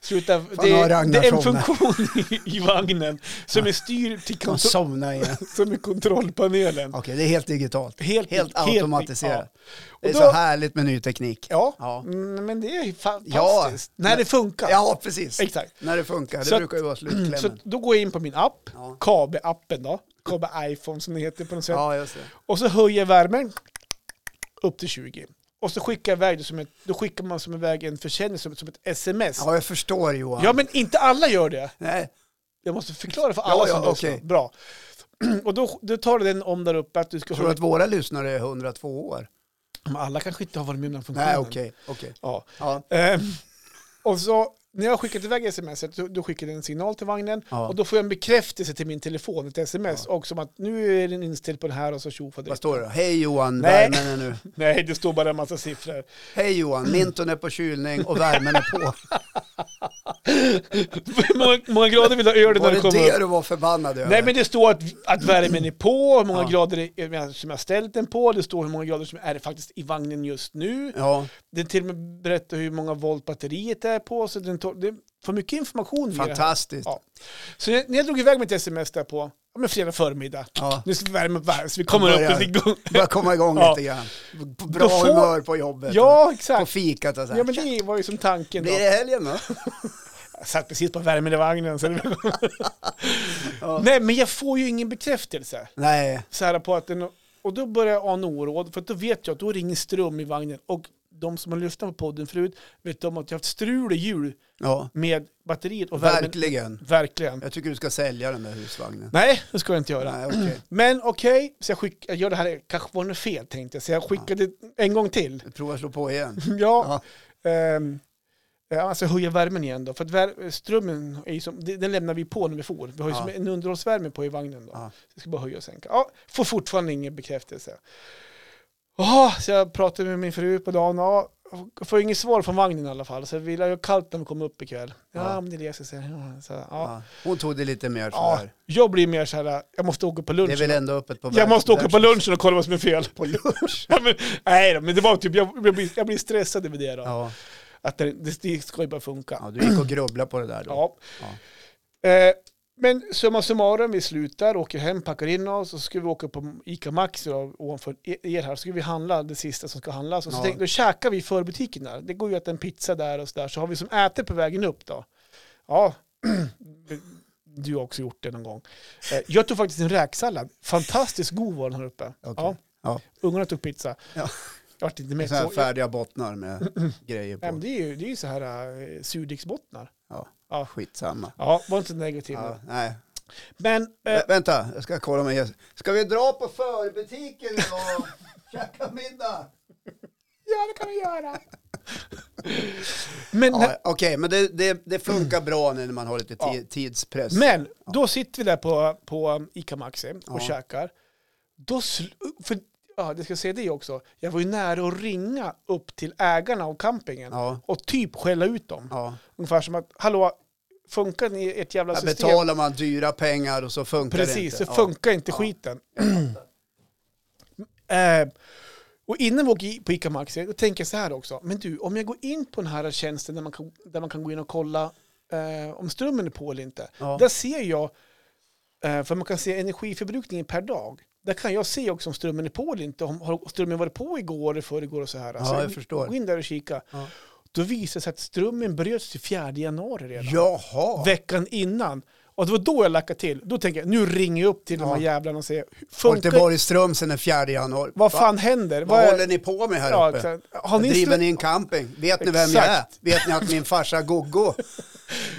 Sluta,
Fan,
det,
har
är,
Ragnar
det är en
somnat?
funktion i, i vagnen som är styrd till
Man
kontro-
somnar igen.
som är kontrollpanelen.
Okej, det är helt digitalt.
Helt,
Helt automatiserat.
Ja,
Det är
då-
så härligt med ny teknik.
ja.
Ja.
Mm, men det är ju fantastiskt. När det funkar.
Ja, precis.
Exakt.
När det funkar. Det
Så att-
brukar ju vara
Så
slutklämmen.
då går jag in på min app,
Ja.
KABE-appen då, KABE iPhone som det heter på något sätt.
Ja, just det.
Och så höjer jag värmen upp till 20. Och så skickar jag iväg det som ett, då skickar man som iväg en försäljning som, som ett sms. Ja.
Ja, jag förstår Johan.
men inte alla gör det.
Nej.
Jag måste förklara för
Ja,
alla
ja,
som lyssnar.
okej.
Bra. Och då, då tar du den om där uppe att du ska...
Tror du att våra lyssnare är 102 år?
Men alla kanske inte har varit med om den funktionen.
Nej, okej. okej.
Ja.
Ja.
Ehm, och så när jag har skickat iväg sms, då, då skickar den en signal till vagnen
Ja.
och då får jag en bekräftelse till min telefon, ett sms, också om att nu är den inställd på det här och så
Vad
tjofaderittan.
står det då? Hej Johan,
Nej.
värmen är nu.
Nej, det står bara en massa siffror.
Hej Johan, minton är på kylning och värmen är på.
Hur många, många grader vill du ha öl när
Var
det
det
kommer?
det du var förbannad över?
Nej, men det står att, att värmen är på, hur många
Ja.
grader det är, som jag har ställt den på, det står hur många grader som är det faktiskt i vagnen just nu.
Ja,
Det till och med berättar hur många volt batteriet är på, så den tål, det är för mycket information. i det här.
fantastiskt.
Ja. Så jag, när jag drog iväg mitt sms där på ja, men fredag förmiddag,
Ja.
nu ska vi värma upp värmen så vi kommer
Börjar.
upp lite igång.
Börjar komma igång
Ja.
lite grann. På Bra
får-
humör på jobbet.
Ja,
På
exakt.
fikat och så här.
Ja, men det var ju som tanken då.
Blir det helgen då?
Jag satt precis på värmen i vagnen. Så det...
Ja.
Nej, men jag får ju ingen bekräftelse.
Nej.
så här på att den, och då börjar jag ana oråd, för att då vet jag att då ringer ström i vagnen. Och de som har lyssnat på podden förut vet om att jag har haft strul i jul
Ja,
med batteriet och värmen.
verkligen.
Verkligen.
Jag tycker du ska sälja den där husvagnen.
Nej, det ska jag inte göra.
Nej, okej.
Men okej, så jag, skick, jag gör det här, kanske var det något fel tänkte jag, så jag skickade en gång till.
Prova att slå på igen.
Ja, ehm, ja. alltså höja värmen igen då, för att vär, strömmen är ju som, det- den lämnar vi på när vi får. Vi har ju
Ja.
som en underhållsvärme på i vagnen då.
Ja.
Det ska bara höja och sänka. Ja, får fortfarande ingen bekräftelse. Jaha, så jag pratade med min fru på dagen. Ja, får inget svar från vagnen i alla fall. Så vi lär ju kallt när vi kommer upp ikväll. Ja,
Ja.
men det läser sig. Ja, så, ja.
Ja. Hon tog det lite mer
Ja.
sådär.
Jag blir mer så här, jag måste åka på
Det är väl
lunchen.
ändå öppet på
Jag måste åka på
världs-
lunchen och kolla vad som är fel.
på lunch.
Ja, men, nej då, men det var typ, jag, jag, blir, jag blir stressad över det då.
Ja.
Att det, det, det ska ju bara funka.
ja, du gick och grubblade på det där då.
Ja. Eh, men summa summarum, vi slutar, åker hem, packar in oss och så ska vi åka på ICA Maxi då, ovanför er här. Så ska vi handla det sista som ska handlas. Och så
Ja.
tänkte, då käkar vi i förbutiken där. Det går ju att äta en pizza där och så där. Så har vi som ätit på vägen upp då. Ja, du har också gjort det någon gång. Eh, jag tog faktiskt en räksallad. Fantastiskt god var den här uppe.
Okej.
Ja,
Ja.
ungarna tog pizza.
Ja.
Jag vart inte
Med
mätt.
så här
så-
färdiga bottnar med grejer
Nej, men
på.
det är ju det är ju så här eh, surdegsbottnar.
Ja.
Ja.
Skitsamma.
Ja, var inte negativ.
Ja,
nu.
nej.
Men eh,
Vä- Vänta, jag ska kolla med Jess. Ska vi dra på förbutiken idag och käka middag?
Ja, det kan vi göra. Men,
Ja, Okej, men det, det, det funkar bra nu när man har lite ti-
Ja.
tidspress.
men då sitter vi där på, på ICA Maxi och
Ja.
käkar. Då, sl- för, ja, det ska jag säga det också. Jag var ju nära att ringa upp till ägarna av campingen
Ja.
och typ skälla ut dem.
Ja.
Ungefär som att, hallå, funkar ni ert jävla
Här
system?
betalar man dyra pengar och så funkar det
Precis,
inte.
så funkar inte skiten. Eh, och innan vi åker i- på ICA Maxi, då tänker jag så här också. Men du, om jag går in på den här tjänsten där man kan, där man kan gå in och kolla eh, om strömmen är på eller inte.
Ja.
Där ser jag, eh, för man kan se energiförbrukningen per dag. Där kan jag se också om strömmen är på eller inte. Om har strömmen varit på igår eller förrgår och så här.
Ja, jag förstår.
Gå in där och kika.
Ja.
Då visar det sig att strömmen bröts till 4 januari redan
Jaha.
veckan innan. Och det var då jag lackade till. Då tänker jag, nu ringer jag upp till de här
Ja.
jävlarna och säger,
Har inte
funkar,
varit i Ström sedan den 4 januari.
vad
Va?
fan händer?
Vad
är-
håller ni på med här
Ja,
uppe?
exakt. har ni
Driver
slut-
ni en camping? Vet ni vem jag är?
Exakt.
Vet ni att min farsa Goggo,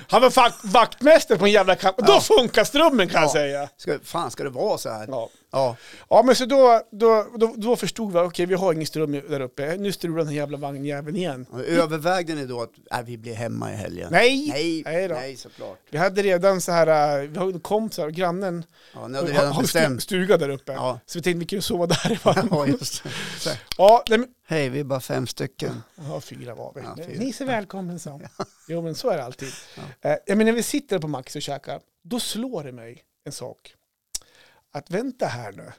Han var fakt- vaktmästare på en jävla kamp. Då funkar strömmen kan jag säga.
ska, fan ska det vara så här?
Ja.
Ja.
ja, men så då, då, då, då förstod vi, okej vi har ingen ström där uppe. Nu strular den här jävla vagnjäveln igen.
Och Övervägde ni då att äh, vi blir hemma i helgen?
Nej!
Nej,
Nej då.
nej såklart.
Vi hade redan så här, äh, vi har kompisar, grannen
Ja, ni hade redan
har stu-
bestämt.
stuga där uppe.
Ja.
Så vi tänkte vi kunde sova där i varje
Ja, just det. Så här,
Ja, nej, men,
Hej, vi är bara fem stycken.
Ja, fyra var vi.
Ja, fyra.
Ni är så välkommen så. Jo, men så är det alltid. Eh, jag menar, när vi sitter på Max och käkar, då slår det mig en sak. Att vänta här nu.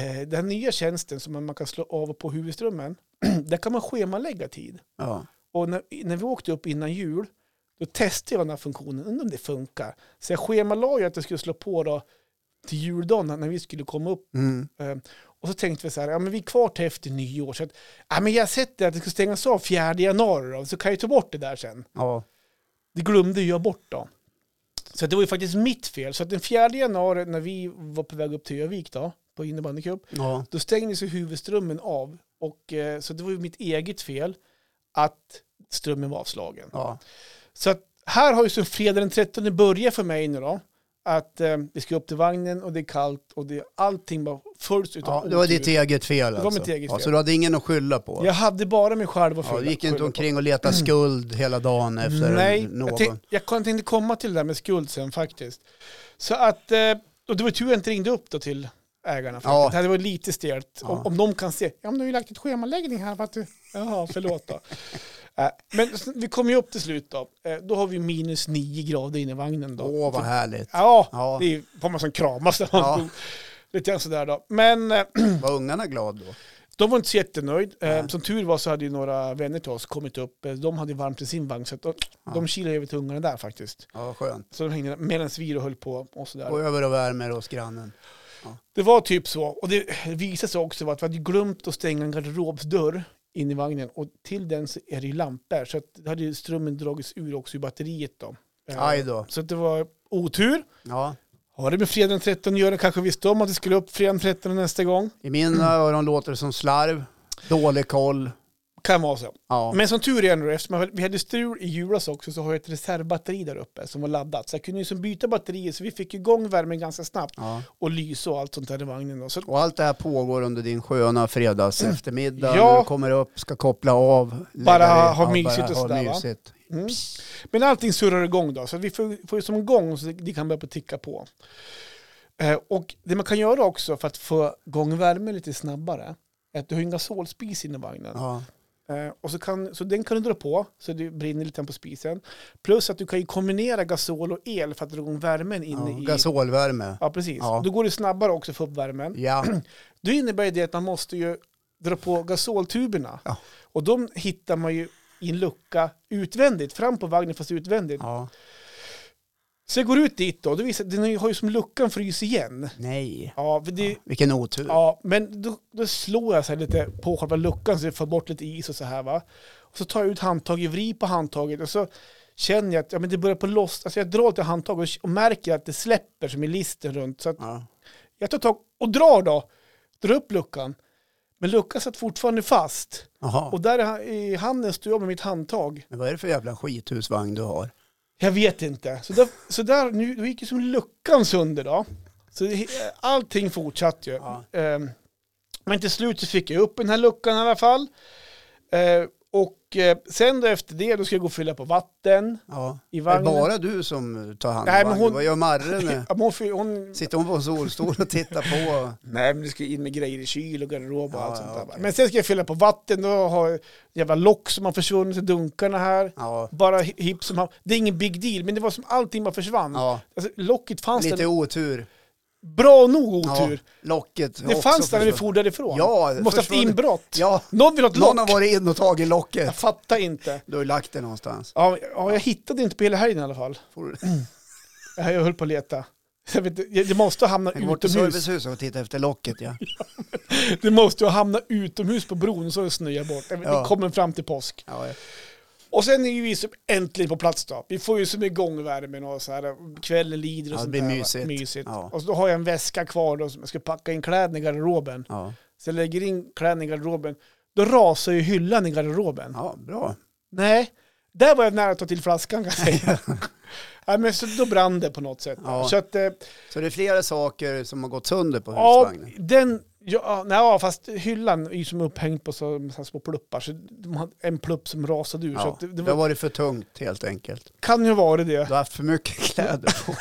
Eh, den nya tjänsten som man man kan slå av och på huvudströmmen, där kan man schemalägga tid.
Ja.
Och när, när vi åkte upp innan jul, Då testade jag den här funktionen, undrar om det funkar. Så jag schemalade ju att jag skulle slå på då till juldagen när vi skulle komma upp.
Mm.
Eh, Och så tänkte vi så här, ja men vi är kvar till efter nyår. Så att, ja men jag sätter att det ska stängas av 4 januari då, så kan jag ju ta bort det där sen.
Ja.
Det glömde jag bort då. Så att det var ju faktiskt mitt fel. Så att den 4 januari när vi var på väg upp till Övik då, på innebandycup,
ja.
då stängdes ju huvudströmmen av. Och, eh, så det var ju mitt eget fel att strömmen var avslagen.
ja.
Så att här har ju så fredag den 13 börjat för mig nu då. Att eh, vi ska upp till vagnen och det är kallt och det, allting bara följs utav
ja. Det var
otur.
ditt eget fel
var
alltså.
mitt eget
Ja,
fel.
så du hade ingen att skylla på?
Jag hade bara mig själv att
Ja,
skylla.
du gick inte
skylla på. Mm.
omkring och letade skuld hela dagen efter
Nej,
någon?
jag, tänk, jag kom- tänkte komma till det där med skuld sen faktiskt. Så att, eh, och det var tur jag inte ringde upp då till ägarna.
Ja.
Ja. Det hade varit lite stelt.
Ja.
Om, om de kan se, ja men du har ju lagt ett schemaläggning här för att du, jaha förlåt då. Eh, men s- vi kom ju upp till slut då. Eh, Då har vi minus nio grader inne i vagnen då.
Åh, vad härligt.
Ja,
Ja.
det är ju- får man som kramas. där.
Ja.
Lite grann sådär då. Men eh,
Var ungarna glada då?
de var inte så jättenöjd. Eh,
Nej.
Som tur var så hade ju några vänner till oss kommit upp. Eh, De hade ju varmt i sin vagn så att de, de kilade över till ungarna där faktiskt.
Ja, vad skönt.
Så de hängde medan vi då höll på och
Gå
sådär.
över och värmer hos grannen.
Det var typ så. Och det visade sig också vara att vi hade glömt att stänga en garderobsdörr in i vagnen. Och till den så är det ju lampor. Så att det hade ju strömmen dragits ur också i batteriet då. Eh,
Aj då.
Så att det var otur.
Ja.
Har det med fredag den 13 att göra? Kanske visste om att det skulle upp fredag den 13 nästa gång.
I mina öron låter det som slarv, dålig koll.
Kan vara så.
Ja.
Men som tur är nu, eftersom vi hade strul i julas också, så har jag ett reservbatteri där uppe som var laddat. Så jag kunde ju som byta batterier, så vi fick igång värmen ganska snabbt.
ja.
Och lyse och allt sånt där i vagnen. Då. Så
Och allt det här pågår under din sköna fredags eftermiddag.
Ja.
Du kommer upp, ska koppla av. lägga
Bara
dig.
ha
bara
mysigt och
ha
sådär, va?
mysigt.
Mm. Men allting surrar igång då, så vi får, får ju som igång så det- det kan börja på ticka på. Eh, och det man kan göra också för att få igång värmen lite snabbare, är att du har ju en gasolspis inne i vagnen.
Ja.
Eh, och så, kan, så den kan du dra på, så det brinner lite grann på spisen. Plus att du kan ju kombinera gasol och el för att dra igång värmen
Ja.
inne i...
Gasolvärme.
Ja, precis.
Ja.
Då går det snabbare också att få upp värmen.
Ja.
Då innebär ju det att man måste ju dra på gasoltuberna.
Ja.
Och de hittar man ju i en lucka utvändigt, fram på vagnen fast utvändigt.
ja.
Så jag går ut dit då, då visar, den har ju som luckan fryst igen.
Nej.
Ja, för det, ja.
Vilken otur.
men då, då slår jag så här lite på själva luckan så jag får bort lite is och så här va. Och så tar jag ut handtaget, vrid på handtaget och så känner jag att ja, men det börjar på loss. Alltså jag drar till handtaget och, och märker att det släpper som i listen runt. Så att
Ja.
jag tar tag och drar då, drar upp luckan. Men luckan satt fortfarande fast.
Jaha.
Och där i ha- i handen står jag med mitt handtag.
Men vad är det för jävla skithusvagn du har?
Jag vet inte. Så där, så där nu, då gick ju som luckan sönder då. Så det, allting fortsatte ju.
Ja.
Ehm, men till slut så fick jag upp den här luckan i alla fall. Ehm, och eh, sen då efter det, då ska jag gå och fylla på vatten
Ja.
i
Är det
vagnen.
bara du som tar hand om
Nej, men
vagnen?
hon-
Vad gör Marre nu?
Ja, men hon, fyll- hon,
Sitter hon på en solstol och tittar på?
nej, men det ska in med grejer i kyl och garderob och
Ja,
allt
ja,
sånt där.
okej.
Men sen ska jag fylla på vatten, då har jag jävla lock som har försvunnit i dunkarna här.
Ja.
Bara hi- hipp som happ. Det är ingen big deal, men det var som allting bara försvann.
ja.
Alltså, locket fanns
Lite
där.
otur.
Bra nog otur.
Ja, locket.
Det
också
fanns där när vi
försvunnit.
for därifrån.
Ja,
Vi måste haft
försvunnit.
inbrott.
Ja,
Någon vill ha ett lock.
någon har varit in och tagit
Jag
locket.
fattar inte.
Du har ju lagt det någonstans.
Ja, ja, jag hittade inte på hela helgen i alla fall.
Får du
Jag höll på att leta. Jag vet, inte, det måste ha hamnat
Jag går till
Mm, utomhus.
servicehus och tittar efter locket ja.
Det måste ha hamnat utomhus på bron så det snöar bort. Jag vet,
Ja.
Det kommer fram till påsk.
ja. ja.
Och sen är ju vi som äntligen på plats då. Vi får ju som igång värmen och så här. Kvällen lider och
Ja, det
sånt
blir
där, va?
mysigt.
mysigt.
Ja.
Och så då har jag en väska kvar då som jag ska packa in kläderna i garderoben.
Ja.
Så jag lägger in kläderna i garderoben. Då rasar ju hyllan i garderoben.
ja, bra.
Nej, där var jag nära att ta till flaskan kan jag säga. Nej, men så då brann det på något sätt.
Ja.
Så att, eh,
Så det är flera saker som har gått sönder på
ja,
husvagnen.
den, ja, nej, ja, fast hyllan är ju som upphängd på så, så här små pluppar, så de hade en plupp som rasade ur. Så
Ja.
att det,
Det
det
har
var,
varit för tungt helt enkelt.
kan ju vara
Du
det.
har haft för mycket kläder på.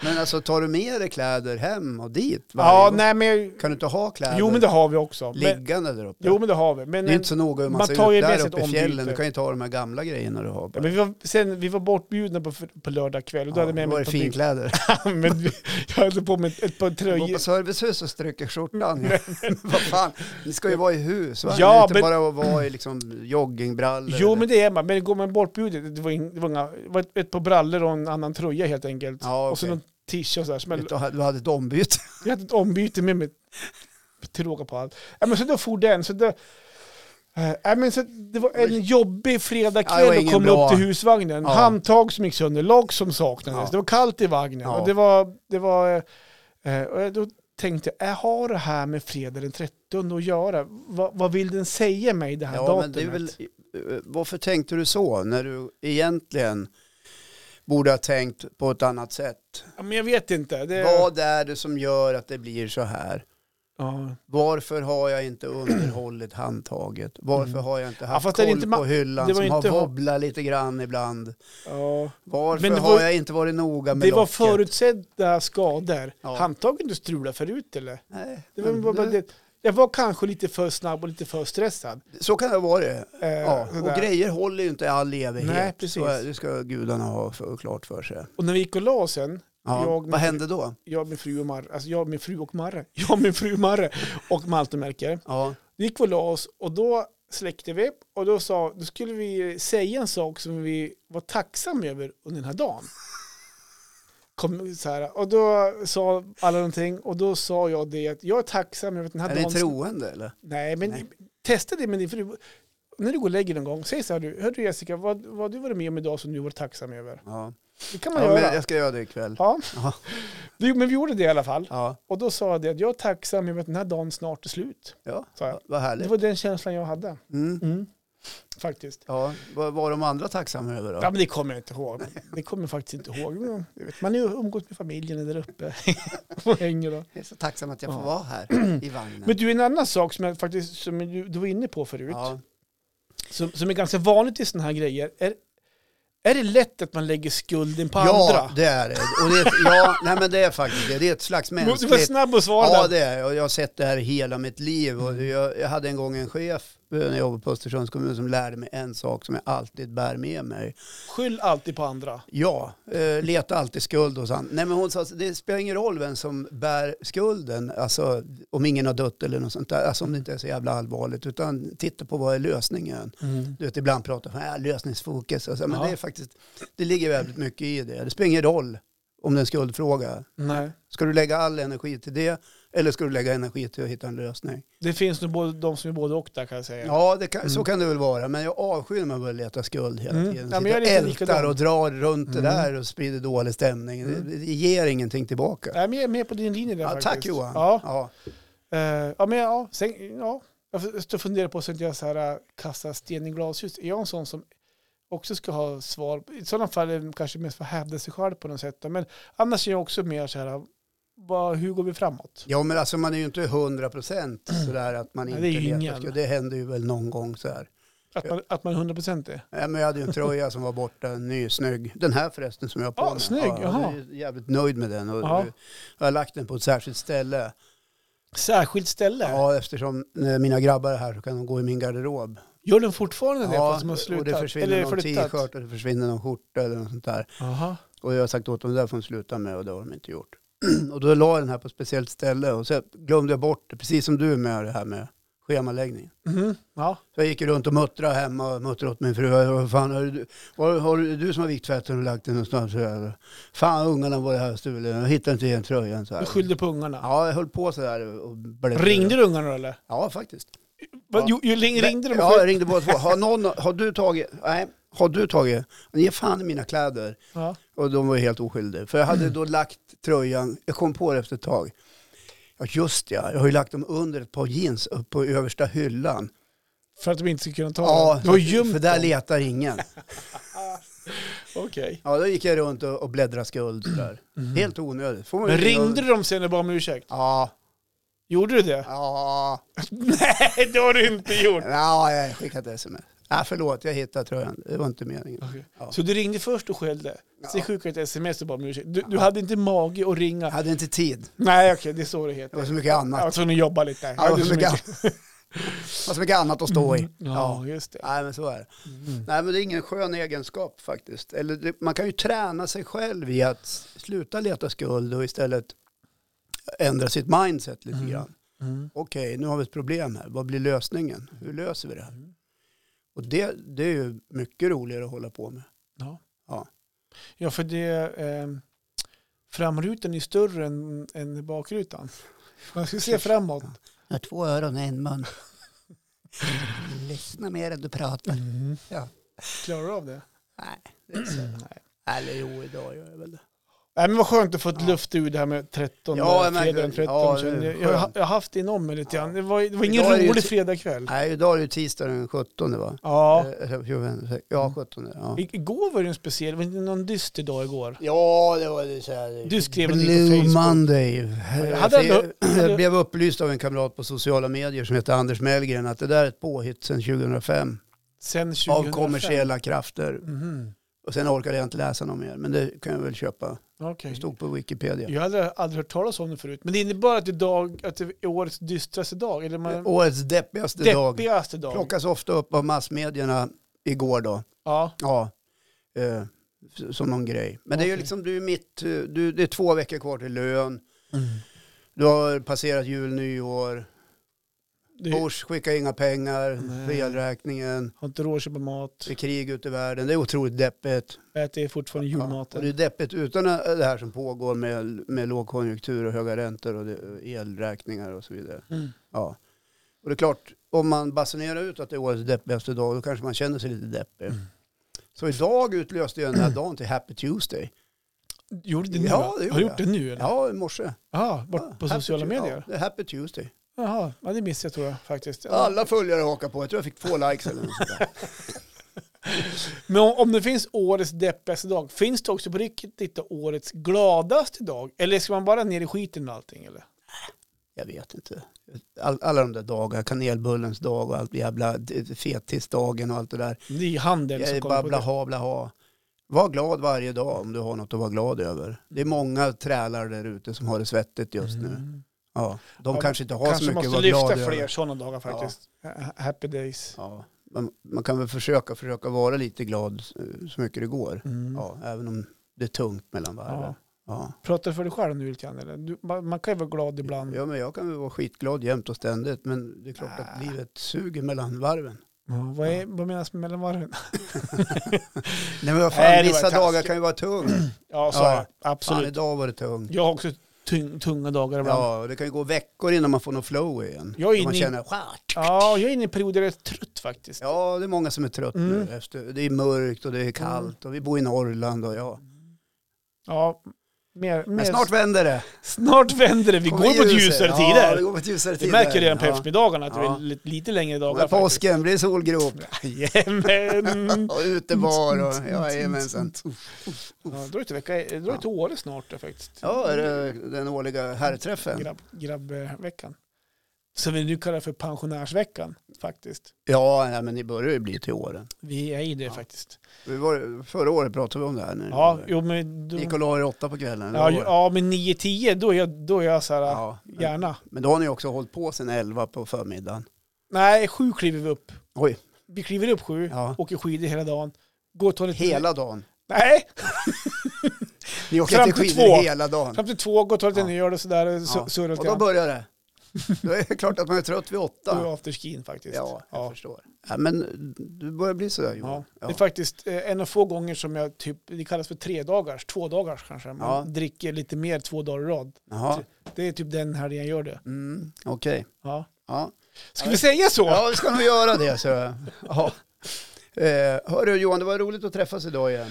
Men alltså tar du med dig kläder hem och dit? varje
Ja,
gång?
nej men...
Kan du inte ha kläder
Jo men det har vi också. Men,
liggande där uppe?
jo men det har vi. Men,
det är inte så noga hur man,
man
ser
tar ju
ut
med
där
sig ett
uppe i fjällen.
ombyte.
Du kan ju inte ha de här gamla grejerna du har.
ja,
Bara.
men vi, var, sen, vi var bortbjudna på, på lördag kväll och då
Ja,
hade jag med
då
mig
är det
ett par
finkläder.
byxor. men vi- Jag hade på mig ett, ett par
Gå på
tröjor.
servicehus och stryker skjortan. Vad fan, ni ska ju vara i hus va?
Ja,
Ja, inte
men-
bara att vara i liksom joggingbrallor.
Jo
eller-
men det är man, men går man bortbjuden, det var, in, det var, inga, det var ett, ett par brallor och en annan tröja helt enkelt.
Ja,
Och så
okej.
någon t-shirt och sådär. Så man,
Du hade- du hade ett ombyte.
jag hade ett ombyte med mig till råga på allt. Ja, men så då for den. Så då, eh, ja, men så det var en jobbig
Ja, det var
fredagkväll att
ingen
komma
bra-
upp till husvagnen.
Ja.
Handtag som gick sönder, lock som saknades.
Ja.
Det var kallt i vagnen.
Ja.
Och det var, det var, eh, och jag- då tänkte jag, jag har det här med fredag den 13 att göra? Va, vad vill den säga mig det här
Ja, men
datumet?
det är väl, eh, varför tänkte du så när du egentligen borde ha tänkt på ett annat sätt?
ja, men jag vet inte. Det,
Vad är det som gör att det blir så här?
ja.
Varför har jag inte underhållit handtaget? Varför
Mm.
har jag inte
Ja,
haft
fast det är
koll
inte ma-
på hyllan
det var
som har
inte ha-
wobblat lite grann ibland?
Ja.
Varför
Men det
har
var-
jag inte varit noga med
Det var
locket?
förutsedda skador.
Ja.
Handtagen du strulade förut eller?
Nej,
Det var
men
bara
det-
det. Jag var kanske lite för snabb och lite för stressad.
Så kan det vara det.
Eh,
Ja, och
sådär.
grejer håller ju inte i all evighet.
Nej, precis.
Så är- det ska gudarna ha för, klart för sig.
och när vi gick och la sen,
Ja.
Jag-
Vad hände då?
jag min fru och Marre, alltså jag min fru och Marre, jag min fru Marre och Malte Melker,
Ja,
då gick vi och la oss och då släckte vi och då, sa, då skulle vi säga en sak som vi var tacksamma över under den här dagen. Kom, så här, och då sa alla någonting och då sa jag det att jag är tacksam över att den här
är
dagen
ni troende eller?
Nej, men
Nej.
testa det med din fru. När du går och lägger dig någon gång, säg så här du, hör du Jessica, vad, vad har du varit med om idag som du var tacksam över?
Ja.
Det kan man
ja men
göra.
jag ska göra det ikväll.
Ja.
Ja.
Vi, men vi gjorde det i alla fall.
Ja,
Och då sa jag det att jag är tacksam över att den här dagen snart är slut.
ja.
Sa jag.
vad
Det
härligt.
var den känslan jag hade.
Mm.
Mm. Faktiskt.
Ja, vad var de andra tacksamma över då?
Ja, men det kommer jag inte ihåg. Det kommer jag faktiskt inte ihåg. Men, du vet, man är ju umgås med familjen där uppe och hänger. Då.
Jag är så tacksam att jag får
Ja.
vara här i vagnen.
Men du, en annan sak som, jag faktiskt, som du, du var inne på förut.
ja.
som, som är ganska vanligt i sådana här grejer. Är, är det lätt att man lägger skulden på
ja,
andra?
det är det. Och det är, ett- ja, nej, men det är faktiskt det. Det är ett slags
Du var
mänskligt
snabb att svara
Ja,
där.
det är jag. Och Jag har sett det här hela mitt liv. Och jag, jag hade en gång en chef eh, när jag jobbade på Östersunds kommun som lärde mig en sak som jag alltid bär med mig.
Skyll alltid på andra.
Ja, eh, leta alltid skuld hos han. Nej, men hon sa att det spelar ingen roll vem som bär skulden, alltså om ingen har dött eller något sånt där, alltså om det inte är så jävla allvarligt, utan titta på vad är lösningen. Du vet, ibland pratar man om äh, lösningsfokus, och så, men
Ja.
det är faktiskt, det ligger väldigt mycket i det. Det spelar ingen roll om det är en skuldfråga.
Nej.
Ska du lägga all energi till det eller ska du lägga energi till att hitta en lösning?
Det finns nog både, de som är både och där kan jag säga.
Ja, det kan, så kan det väl vara, men jag avskyr när man börjar leta skuld hela
Mm.
tiden.
Ja, men
Sitter
jag är
och
lite Mm.
ältar
likadan.
och drar runt det där och sprider dålig stämning. Det, det ger ingenting tillbaka.
Mm. Nej, men jag är med på din linje där
Ja,
faktiskt.
tack Johan.
Ja,
Ja.
eh, ja men ja, sen, ja. Jag står och funderar på så att jag så här, äh, kastar sten i glashus. Är jag en sån som också ska ha svar? I sådana fall är det kanske mest för att hävda sig själv på något sätt. Men annars är jag också mer så här, eh, vad, hur går vi framåt?
ja, men alltså man är ju inte hundra procent sådär att man
Mm. Nej,
inte
det är ju
letar
ingen.
skuld. Det händer ju väl någon gång så här.
Att man, att man är 100% är?
Nej, men jag hade ju en tröja som var borta, en ny, snygg. Den här förresten som jag har på
Ja,
mig.
snygg,
ja, jag är
jaha.
ju jävligt nöjd med den. Och,
Ja.
nu Jag har lagt den på ett särskilt ställe.
Särskilt ställe?
Ja, eftersom eh, mina grabbar är här så kan de gå i min garderob.
Gör den fortfarande det fast de har
och det
slutat?
försvinner
Eller
någon
flyttat?
t-shirt och det försvinner någon skjorta eller något sånt där.
Aha.
Och jag har sagt åt dem, det där får de sluta med och det har de inte gjort. och då la jag den här på ett speciellt ställe och så glömde jag bort det, precis som du med det här med schemaläggningen.
Mhm. Ja.
Så jag gick ju runt och muttrade hemma och muttrade åt min fru. Vad fan, har du, var, har du, du som har vikt tvätten och lagt den någonstans? Så här. Fan, ungarna var det här och stulen. Jag hittade inte igen tröjan. Så
Du
här.
skyllde på ungarna.
Ja, jag höll på så där. Och blev-
Ringde du ungarna då, eller?
Ja, faktiskt.
Va,
Ja.
Jo, jo, ring- ringde de?
Ja, jag ringde båda två. Har, någon, har du tagit? Nej, har du tagit? Ge fan i mina kläder.
Ja.
Och de var ju helt oskyldiga. För jag hade då lagt tröjan, jag kom på det efter ett tag. Ja, just ja, jag har ju lagt dem under ett par jeans upp på översta hyllan.
För att de inte skulle kunna ta
Ja,
den? Du har gömt
för
dem?
där letar ingen.
Okej.
Ja, då gick jag runt och, och bläddrade skuld där. Helt onödigt. Får man
Mhm. Men
ju ringa-
ringde du dem sen och bad om ursäkt?
Ja,
Gjorde du det?
ja,
Nej, det har du inte gjort.
ja, jag skickade ett sms. Nej, förlåt, jag hittade tröjan. Det var inte meningen. Ja.
Så du ringde först och skällde. Sen
Ja.
skickade du ett sms och bara om ursäkt. Du, du hade inte mage att ringa.
Jag hade inte tid.
Nej, okej, det är så det
Det
heter.
var så mycket annat.
Jag var tvungen att jobba lite. Jag
Ja, det var
hade
så
så
mycket,
mycket- Mm,
annat. det var så mycket annat att stå i. Ja.
Ja, just det. Mm.
Nej, men så är det. Nej, men det är ingen skön egenskap faktiskt. Eller det, man kan ju träna sig själv i att sluta leta skuld och istället ändra sitt mindset lite
Mm.
grann.
Mm.
Okej, nu har vi ett problem här. Vad blir lösningen? Hur löser vi det här? Och det, det är ju mycket roligare att hålla på med.
Ja, för det... ehm, framrutan är större än, än bakrutan. Man ska se framåt.
Jag har två öron och en mun. Lyssna mer än du pratar. Ja.
Klarar du av det?
Nej, det är så.
Nej.
Eller jo, idag gör jag väl det.
Nej, men vad skönt att få ett
Ja.
luft ur det här med 13,
Ja,
där,
men-
fredagen 13.
ja,
kände
det är
jag. jag, har-
skönt.
jag har haft det inom mig lite
Ja.
grann. Det var, det var ingen
Idag är det ju
rolig
ti-
fredagkväll.
Nej, idag är det tisdag den 17 va?
Ja. Mm.
Eh, Ja, 17. Ja,
I- Igår var det en speciell, var det någon dyster dag igår?
ja det var det så här. liksom.
Du skrev någonting på
Blue
Facebook.
Monday. Eh,
jag hade ändå-
Jag blev upplyst av en kamrat på sociala medier som heter Anders Mellgren att det där är ett påhitt sedan 2005
Sen 2005.
av kommersiella krafter.
Mhm.
Och sen orkade jag inte läsa något mer, men det kan jag väl köpa.
Okej.
Det stod på Wikipedia.
Jag hade aldrig hört talas om det förut. Men det innebar att, idag, att det är årets dystraste dag. Eller man,
Årets deppigaste dag.
deppigaste dag.
Plockas ofta upp av massmedierna igår då.
Ja.
Ja, eh, s- som någon grej. Men det är ju
Okej.
liksom, du är mitt, eh, du, det är två veckor kvar till lön. Du har passerat jul, nyår.
Du
Bors skickar inga pengar
Nej.
för elräkningen.
har inte råd att köpa mat.
Det är krig ute i världen. Det är otroligt deppigt.
Äter fortfarande
och
julmaten.
det är deppigt utan det här som pågår med, med lågkonjunktur och höga räntor och det, elräkningar och så vidare.
Mm.
Ja. Och det är klart, om man basunerar ut att det är årets deppigaste dag, då kanske man känner sig lite deppig.
Mm.
Så idag utlöste jag den här dagen till Happy Tuesday.
Gjorde det nu?
Ja,
va?
det gjorde
har du gjort det
jag.
nu? Eller?
Ja, i morse.
Jaha, bort
Ja,
på sociala
Happy Tu-
medier?
Ja, det är Happy Tuesday.
Jaha, ja, det missade jag tror jag faktiskt.
Alla följare hakar på. Jag tror jag fick två likes eller något sånt där.
Men om, om det finns årets deppigaste dag, finns det också på riktigt då årets gladaste dag? Eller ska man bara ner i skiten med allting? Eller?
Jag vet inte. All, alla de där dagarna, kanelbullens dag och allt jävla d- fetisdagen och allt det där.
Det är ju handeln
Jag
som
är
kommer
bara
på det.
blaha, blaha. Var glad varje dag om du har något att vara glad över. Det är många trälar där ute som har det svettigt just nu.
Mm.
Ja, de
Ja,
kanske inte har
Kanske
så mycket att
måste
vara glad
lyfta
över.
fler sådana dagar faktiskt. Ha- Happy days.
Ja, man, man kan väl försöka, försöka vara lite glad eh, så mycket det går.
Mm.
Ja, även om det är tungt mellan varven.
Ja.
Ja.
Pratar du för dig själv nu lite grann? Eller? Du, man, man kan ju vara glad ibland.
Ja, men jag kan väl vara skitglad jämt och ständigt, men det är klart att
Äh.
livet suger mellan varven.
Ja, vad, är, vad menas med mellanvarven?
Nej, men vad fan,
Nej, det var
vissa
taskigt.
dagar kan ju vara tungt.
Ja, så
Ja,
är det.
Fan,
Absolut.
idag var det tungt.
Jag har också tyng, tunga dagar ibland.
Ja, och det kan ju gå veckor innan man får någon flow igen.
Jag är
Då man
inne i-
känner,
Ja, jag är inne i en period där jag är trött faktiskt.
ja, det är många som är trött
Mm.
nu. Efter, det är mörkt och det är kallt och vi bor i Norrland och ja.
Mm. Ja, mer, mer,
Men snart vänder det.
snart vänder det. Vi går
Kommer
mot
ljuset.
ljusare
Ja, vi
tider.
går mot ljusare
Vi
tider.
märker redan på
Ja.
eftermiddagarna att
Ja.
det är lite, lite längre
Och
dagar.
med påsken blir det solgrop
Jajamän!
och utebar och ja, jajamensan.
Ja, då är det till vecka- då är det till Åre snart då, faktiskt.
Ja, är det den årliga herrträffen?
Grabb, grabbveckan. Som vi nu kallar för pensionärsveckan faktiskt.
Ja, nej, men ni börjar ju bli till åren.
Vi är i det
Ja.
faktiskt.
Vi var, förra året pratade vi om det här. När
Ja, jo men... Då,
Gick och la er åtta på kvällen.
ja,
eller vad var det?
ja, men 9-10 då är jag, då är jag så här,
Ja, men-
gärna.
Men då har ni också hållit på sen 11 på förmiddagen.
Nej, sju kliver vi upp.
Oj,
Vi kliver upp sju,
Ja.
åker skidor hela dagen. Går och tar lite...
hela dagen.
Nej,
Ni åker
Fram
inte
till
skidor
två.
hela dagen.
Fram till två, gå och ta lite
Ja.
öl och sådär.
Ja.
Ja. Surra
Och
lite
då
grann.
börjar det. Då är det klart att man är trött vid
Då är
åtta.
afterskin faktiskt.
Ja, jag
ja.
förstår. Ja, men du börjar bli sådär Johan.
Ja.
Ja.
Det är faktiskt eh, en av få gånger som jag typ, det kallas för tre dagars, två dagars kanske. Man
Ja.
dricker lite mer två dagar i rad.
Jaha,
Det är typ den här jag gör det.
mm, okej.
Ja.
Ja.
Ska vi säga så?
ja, vi ska nog göra det. Så. Ja. Eh, hörru Johan, det var roligt att träffas idag igen.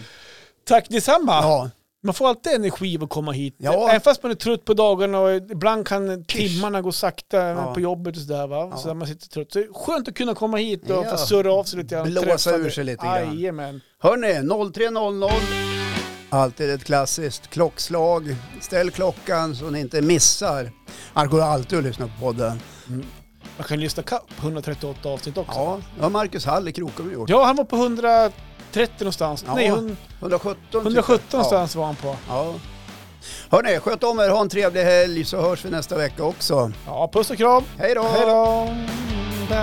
Tack detsamma.
Ja,
Man får alltid energi av att komma hit.
Ja.
Även fast man är trött på dagarna och ibland kan timmarna gå sakta
Ja.
på jobbet och sådär va.
Ja.
Så där man sitter trött. Så det är skönt att kunna komma hit och
Ja.
få surra av sig lite grann.
Blåsa
Träffa
ur
dig.
sig lite grann.
Jajamän.
hörni, 0300. Alltid ett klassiskt klockslag. Ställ klockan så ni inte missar. Han går alltid att lyssna på podden.
Man kan lyssna kapp 138 avsnitt också.
Ja, det har Marcus Hall i Krokom gjort.
Ja, han var på 130 någonstans.
Ja.
Nej, hun-
117 typ.
117
Ja.
någonstans var han på.
Ja. Hörni, sköt om er, ha en trevlig helg så hörs vi nästa vecka också.
Ja, puss och kram.
Hej då!
Hej då!